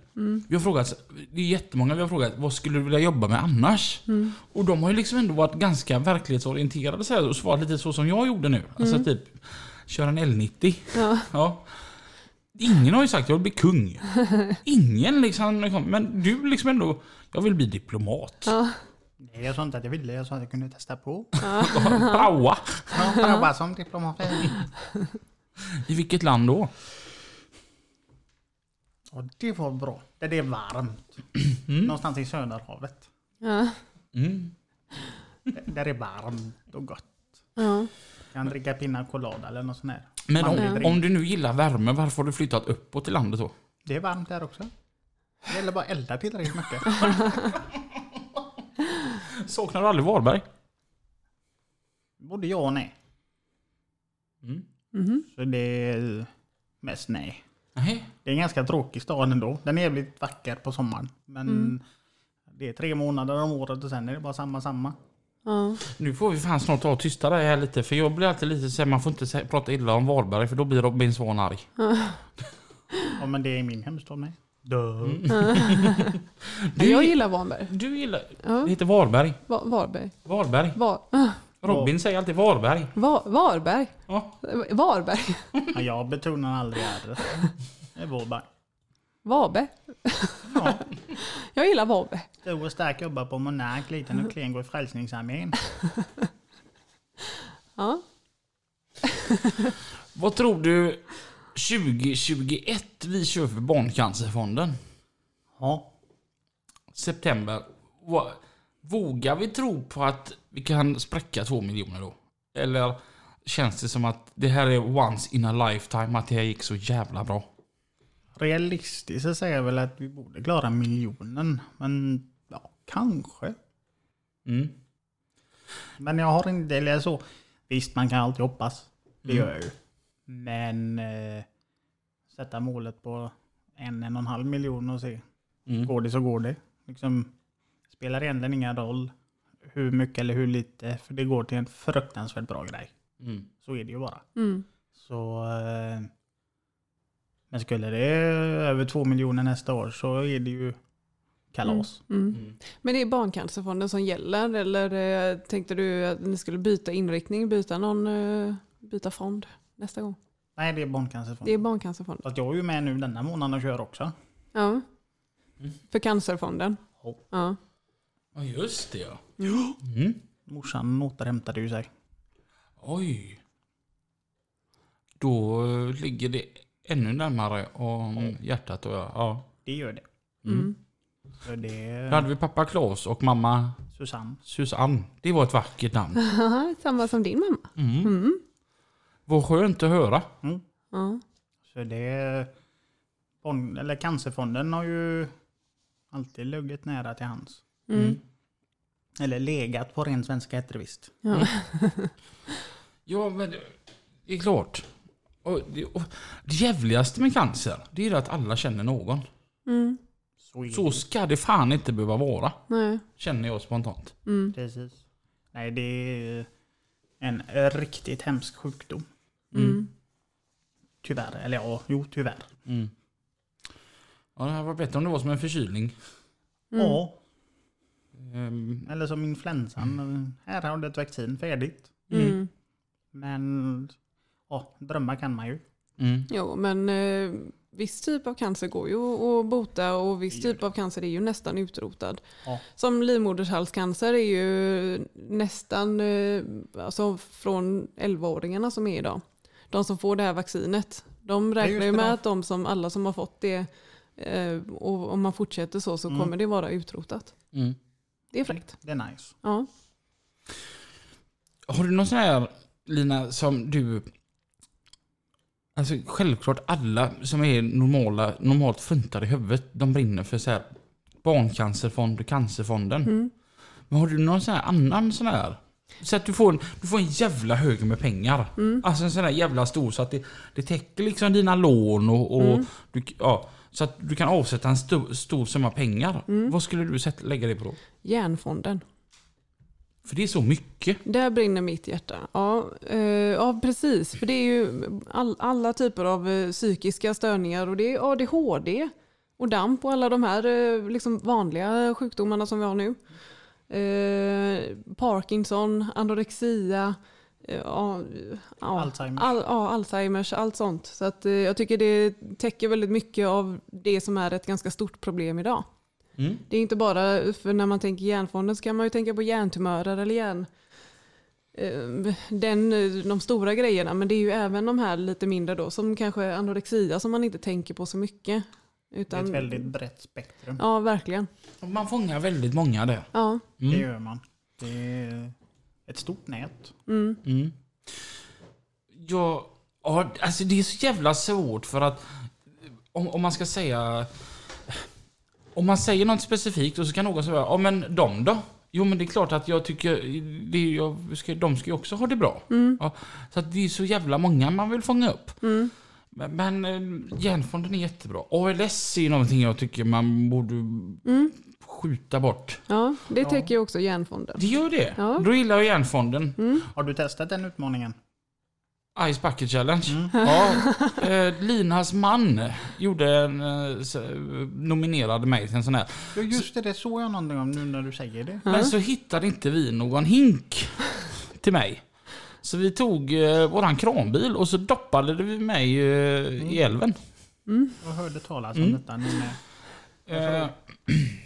Vi har frågat, det är jättemånga vi har frågat, vad skulle du vilja jobba med annars? Och de har ju liksom ändå varit ganska verklighetsorienterade så här, och svarat lite så som jag gjorde nu. Alltså typ, kör en L90.
Ja.
Ja. Ingen har ju sagt jag vill bli kung. Ingen liksom. Men du liksom ändå, jag vill bli diplomat.
Nej, jag sa inte att jag ville, jag sa att jag kunde testa på.
Praoa.
Ja, Prova som diplomat.
I vilket land då?
Ja, det var bra. Där det är varmt. Någonstans i Söderhavet.
Ja.
Där det är varmt och gott.
Ja.
Kan dricka pina colada eller något sånt där.
Men
Manlig
om,
drink.
om du nu gillar värme, varför har du flyttat uppåt i landet då?
Det är varmt där också. Det gäller bara att elda tillräckligt mycket.
Saknar du aldrig Varberg?
Både ja och nej.
Mm.
Mhm.
Så det är mest nej.
Nej.
Det är en ganska tråkig stad ändå. Den är jävligt vacker på sommaren. Men det är tre månader om året och sen är det bara samma samma.
Ja.
Nu får vi fan snart ta och tysta dig här lite för jag blir alltid lite såhär, man får inte sä- prata illa om Varberg för då blir Robin Svahn arg.
Ja men det är min hemstad Mm. med. Duh.
Du-
Jag gillar Varberg.
Du gillar...
Ja.
Det heter Varberg.
Va- Varberg.
Varberg.
Var- ah,
Robin säger alltid Varberg.
Va- Varberg.
Ja.
Varberg.
Ja, jag betonar aldrig R. Det är Vårberg.
Varberg.
Ja,
Jag gillar Varberg.
stor och stark jobbar på Monark, liten och klen går i Frälsningsarmén.
Ja.
Vad tror du 2021 vi kör för Barncancerfonden?
Ja,
september. Va- Vågar vi tro på att vi kan spräcka två miljoner då? Eller känns det som att det här är once in a lifetime, att det här gick så jävla bra?
realistiskt så säger jag väl att vi borde klara miljonen. Men ja, kanske.
Mm.
Men jag har inte, eller så. Visst, man kan alltid hoppas. Det gör jag ju. Men eh, sätta målet på en, en och en halv miljon och se. Går det så går det. Liksom, spelar egentligen ingen roll hur mycket eller hur lite. För det går till en fruktansvärt bra grej.
Mm.
Så är det ju bara.
Mm.
Så... Eh, men skulle det över två miljoner nästa år så är det ju kalas.
Mm. Men det är Barncancerfonden som gäller eller eh, tänkte du att ni skulle byta inriktning, byta någon, eh, byta fond nästa gång?
Nej, det är Barncancerfonden.
Det är Barncancerfonden.
Fast jag är ju med nu denna månaden och kör också.
Ja. För Cancerfonden.
Ja.
Ja.
Ja, just det ja. Mm.
Morsan återhämtade ju sig.
Oj. Då eh, ligger det ännu närmare om hjärtat och jag. Ja.
Det gör det.
Mm.
För det
Då hade vi pappa Claes och mamma
Susanne.
Susanne. Det var ett vackert namn.
Haha, Samma som din mamma.
Vad skönt att höra.
Ja.
Så det... Bon, eller Cancerfonden har ju alltid legat nära till hans.
Mm.
Eller legat på ren svenska heter det visst.
Ja, men det- det är klart. Och det, och det jävligaste med cancer, det är ju att alla känner någon.
Så är
Så ska det fan inte behöva vara,
Nej.
känner jag spontant.
Mm.
det. Precis. Nej, det är en riktigt hemsk sjukdom.
Mm.
Tyvärr, eller ja, jo tyvärr.
Mm. Ja, det här var bättre om det var som en förkylning.
Mm.
Ja,
Ehm,
eller som influensan. Här har du ett vaccin färdigt.
Mm.
Men ja, drömmar kan man ju.
mm.
Jo, men eh, viss typ av cancer går ju att- att bota och viss typ av cancer är ju nästan utrotad.
Ja.
Som livmodershalscancer är ju nästan eh, alltså från 11-åringarna som är idag. De som får det här vaccinet. De
just
räknar ju
det,
med
de-
att de som, alla som har fått det, eh, och om man fortsätter så, så
Mm.
kommer det vara utrotat.
Mm.
Det är fräckt.
Det är nice.
Ja.
Har du någon sån här, Lina, som du... Alltså självklart alla som är normala, normalt funtade i huvudet, de brinner för så här barncancerfond och cancerfonden. Men har du någon sån här annan sån här? Så att du får en, du får en jävla hög med pengar. Alltså en sån här jävla stor så att det, det täcker liksom dina lån och, och du, ja, så att du kan avsätta en stor, stor summa pengar. Vad skulle du sätta, lägga det på då?
Järnfonden.
För det är så mycket.
Där brinner mitt hjärta. Ja, eh, ja precis. För det är ju all, alla typer av eh, psykiska störningar och det är ADHD och DAMP och alla de här eh, liksom vanliga sjukdomarna som vi har nu. Eh, Parkinson, anorexia, eh, ja, ja,
Alzheimers.
Al, ja, Alzheimers, allt sånt. Så att, eh, jag tycker det täcker väldigt mycket av det som är ett ganska stort problem idag. Det är inte bara, för när man tänker hjärnfonden så kan man ju tänka på hjärntumörer eller hjärn, eh, den, de stora grejerna. Men det är ju även de här lite mindre då, som kanske anorexia som man inte tänker på så mycket.
Det är ett
Utan,
väldigt brett spektrum.
ja, verkligen.
Man fångar väldigt många där.
Ja.
Det gör man. Det är ett stort nät.
Jag, ja, alltså det är så jävla svårt för att om, om man ska säga... Om man säger något specifikt och så kan någon säga ja men de då? Jo men det är klart att jag tycker, det, är- jag ska, de ska ju också ha det bra. Ja, så att det är så jävla många man vill fånga upp. Men, men eh, Hjärnfonden är jättebra. ALS är ju någonting jag tycker man borde skjuta bort.
ja, det täcker ju också hjärnfonden.
Det gör det.
Ja.
Då gillar jag Hjärnfonden.
Har du testat den utmaningen?
Ice Bucket Challenge.
Mm.
Ja, eh, Linas man gjorde en, eh, s- nominerade mig till en sån här.
Ja just det, det såg jag någonting om nu när du säger det.
Men så hittade inte vi någon hink till mig. Så vi tog eh, våran kranbil och så doppade vi mig eh, i älven.
Jag hörde talas om detta. Men, eh,
Eh,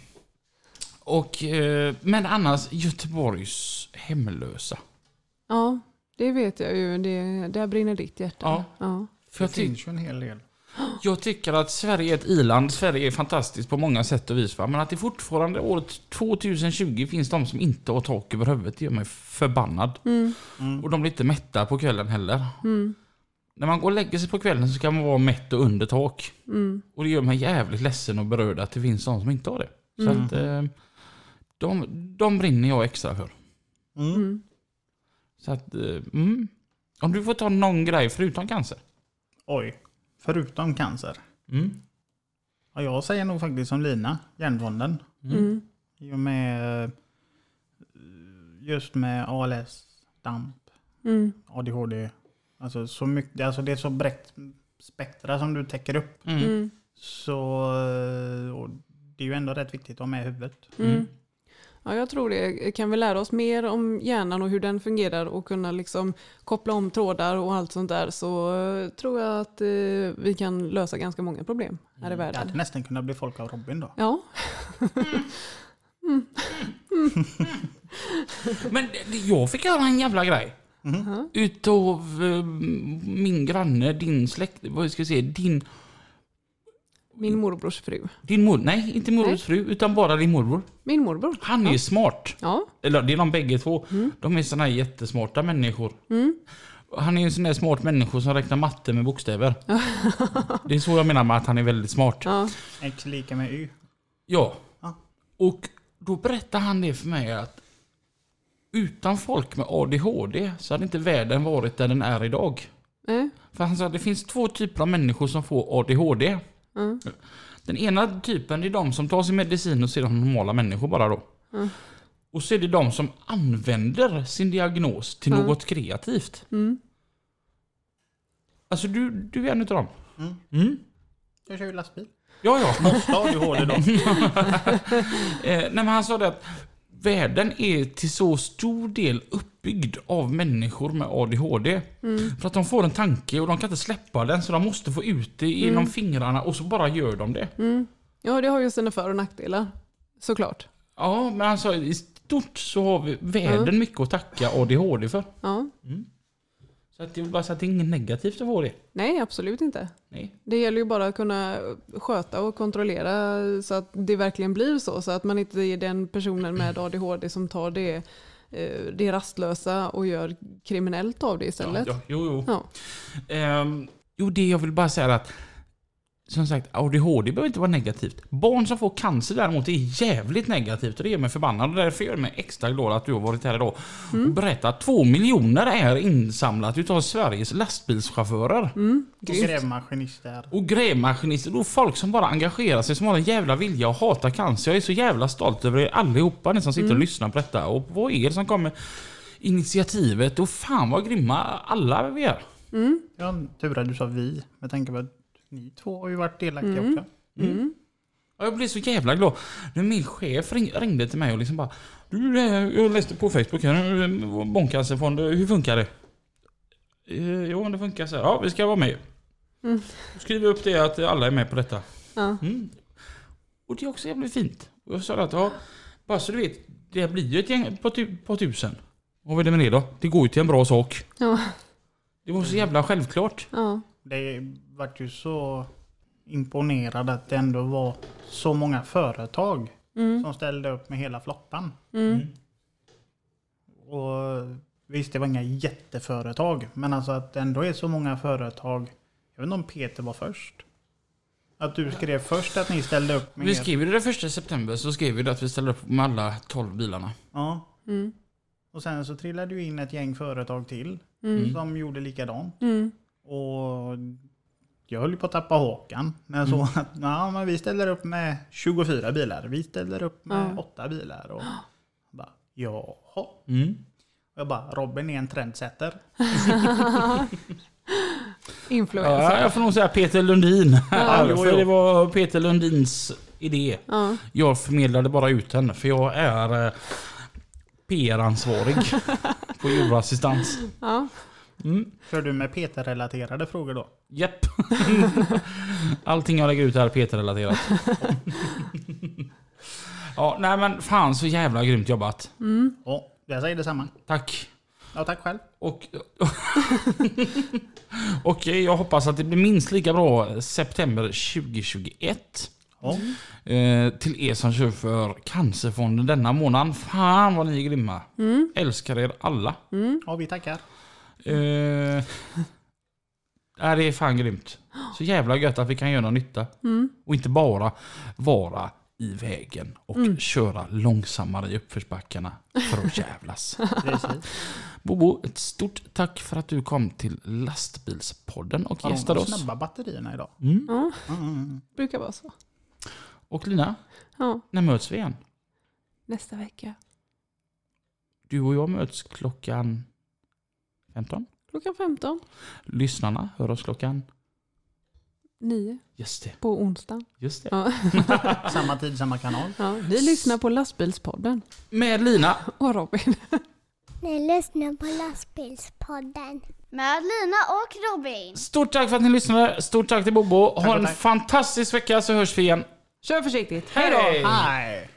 och, eh, men annars Göteborgs hemlösa.
Ja, det vet jag ju. Det, där brinner ditt hjärta.
Ja.
Ja.
För
det
jag, ty-
finns ju en hel del.
jag tycker att Sverige är ett iland. Sverige är fantastiskt på många sätt och vis. Va? Men att det fortfarande år 2020 finns de som inte har tak över huvudet. Det gör mig förbannad. Och de blir inte mätta på kvällen heller. När man går och lägger sig på kvällen så kan man vara mätt och under tak. Och det gör mig jävligt ledsen och berörd att det finns de som inte har det. Så att, eh, de, de brinner jag extra för.
Mm.
Så att, eh, mm. Om du får ta någon grej förutom cancer.
Oj, förutom cancer.
Mm.
Ja, jag säger nog faktiskt som Lina, hjärnfonden.
Mm.
I och med eh, just med ALS, DAMP,
Mm.
ADHD. Alltså, så mycket, alltså det är så brett spektra som du täcker upp.
Mm.
Mm.
Så eh, och det är ju ändå rätt viktigt att ha med i huvudet.
Mm. Ja, jag tror det. Kan vi lära oss mer om hjärnan och hur den fungerar och kunna liksom koppla om trådar och allt sånt där så eh, tror jag att eh, vi kan lösa ganska många problem här i
Det
världen.
hade nästan kunnat bli folk av Robin då.
Ja,
Men det- jag fick höra en jävla grej.
Mm-hmm.
Utav eh, min granne, din släkt, vad ska jag säga, din,
min morbrors fru.
din mor, nej inte
Nej.
morbrors fru, utan bara din morbror.
Min morbror.
Han är ju smart.
Ja, Mm.
Eller det är de bägge två. De är såna här jättesmarta människor. Han är ju en sån där smart människa som räknar matte med bokstäver. det är så jag menar med att han är väldigt smart.
ja.
X lika med Y.
Ja.
Ja.
Och då berättade han det för mig att utan folk med ADHD så hade inte världen varit där den är idag.
Nej.
För han sa att det finns två typer av människor som får ADHD. Den ena typen är de som tar sin medicin och ser de normala människor bara då. Och så är det de som använder sin diagnos till något kreativt. Alltså du, du är en utav dem?
Mm.
Mm.
Jag kör ju lastbil.
Ja, ja.
Måste du hål idag?
Eh, nej, men han sa det att världen är till så stor del uppbyggd av människor med ADHD. För att de får en tanke och de kan inte släppa den så de måste få ut det genom fingrarna och så bara gör de det.
Ja, det har ju sina för och nackdelar. Såklart.
Ja, men han sa i stort så har vi världen mycket att tacka ADHD för.
Ja.
Så att det är bara så att det är inget negativt att få det.
Nej, absolut inte.
Nej.
Det gäller ju bara att kunna sköta och kontrollera så att det verkligen blir så. Så att man inte är den personen med ADHD som tar det, eh, det rastlösa och gör kriminellt av det istället.
Ja, jo, jo.
Ja.
Ehm, jo, det jag vill bara säga är att som sagt, ADHD behöver inte vara negativt. Barn som får cancer däremot är jävligt negativt och det gör mig förbannad. Och därför gör jag mig extra glad att du har varit här idag
Mm.
och berättat att två miljoner är insamlat utav Sveriges lastbilschaufförer.
Mm.
Och grävmaskinister.
Och grävmaskinister och folk som bara engagerar sig, som har en jävla vilja och hatar cancer. Jag är så jävla stolt över er allihopa, ni som
Mm.
sitter och lyssnar på detta. Och vad är det som kommer initiativet? Och fan vad grymma alla vi är.
Ja, tur att du sa vi. Jag tänker på att ni två har ju varit delaktiga
Mm.
också.
Ja, Jag blev så jävla glad. När min chef ring- ringde till mig och liksom bara Du, eh, jag läste på Facebook här, eh, Barncancerfond, eh, hur funkar det? "Eh, Jo, det funkar så här. Ja, vi ska vara med. Skriv upp det att alla är med på detta.
Ja.
Mm. Och det är också jävligt fint. Och jag sa att, ja, bara så du vet, det blir ju ett gäng på, tu- på tusen. Vad är det med det då? Det går ju till en bra sak.
Ja.
Det var så jävla självklart.
Ja.
Det vart ju så imponerad att det ändå var så många företag som ställde upp med hela floppan. Och visst, det var inga jätteföretag, men alltså att det ändå är så många företag. Jag vet inte om Peter var först. Att du skrev först att ni ställde upp med
Vi
er-
skrev ju det den första september så skrev vi det att vi ställer upp med alla 12 bilarna.
Ja.
Mm.
Och sen så trillade ju in ett gäng företag till
Mm.
som gjorde likadant.
Mm.
Och jag höll ju på att tappa hakan. När jag
Mm.
såg att ja, men vi ställer upp med 24 bilar. Vi ställer upp med
Ja.
8 bilar. Och jag bara, jaha.
Mm.
Och jag bara, Robin är en trendsetter.
Influencer.
Ja, jag får nog säga Peter Lundin.
Ja, jo,
för
jo.
det var Peter Lundins idé.
Ja.
Jag förmedlade bara ut den, för jag är eh, PR-ansvarig på djurassistans.
Ja.
Kör du med Peter-relaterade frågor då?
Japp. Allting jag lägger ut är Peter-relaterat. Ja, nej men fan så jävla grymt jobbat.
Mm. Ja, jag säger detsamma.
Tack.
Ja, tack själv.
Och, och jag hoppas att det blir minst lika bra september 2021.
Ja.
Mm.
Eh, till er som kör för Cancerfonden denna månad. Fan vad ni är grymma. Älskar er alla.
ja, vi tackar.
Eh, nej, det är fan grymt. Så jävla gött att vi kan göra någon nytta. Och inte bara vara i vägen och köra långsammare i uppförsbackarna för att jävlas.
Precis.
Bobo, ett stort tack för att du kom till Lastbilspodden och
Har
gästade
de
oss. Mm.
snabba batterierna idag? Mm,
Brukar vara så.
Och Lina,
Ja.
när möts vi igen?
Nästa vecka.
Du och jag möts klockan 15.
Klockan 15.
Lyssnarna hör oss klockan...
9
Just det.
på onsdag.
Just det.
Ja.
Samma tid, samma kanal.
Ja. Ni lyssnar på lastbilspodden.
Med Lina.
Och Robin.
Ni lyssnar på Lastbilspodden.
Med Lina och Robin.
Stort tack för att ni lyssnade. Stort tack till Bobo. Ha
och
en
tack.
fantastisk vecka så hörs vi igen.
Kör försiktigt.
Hej!
Nej.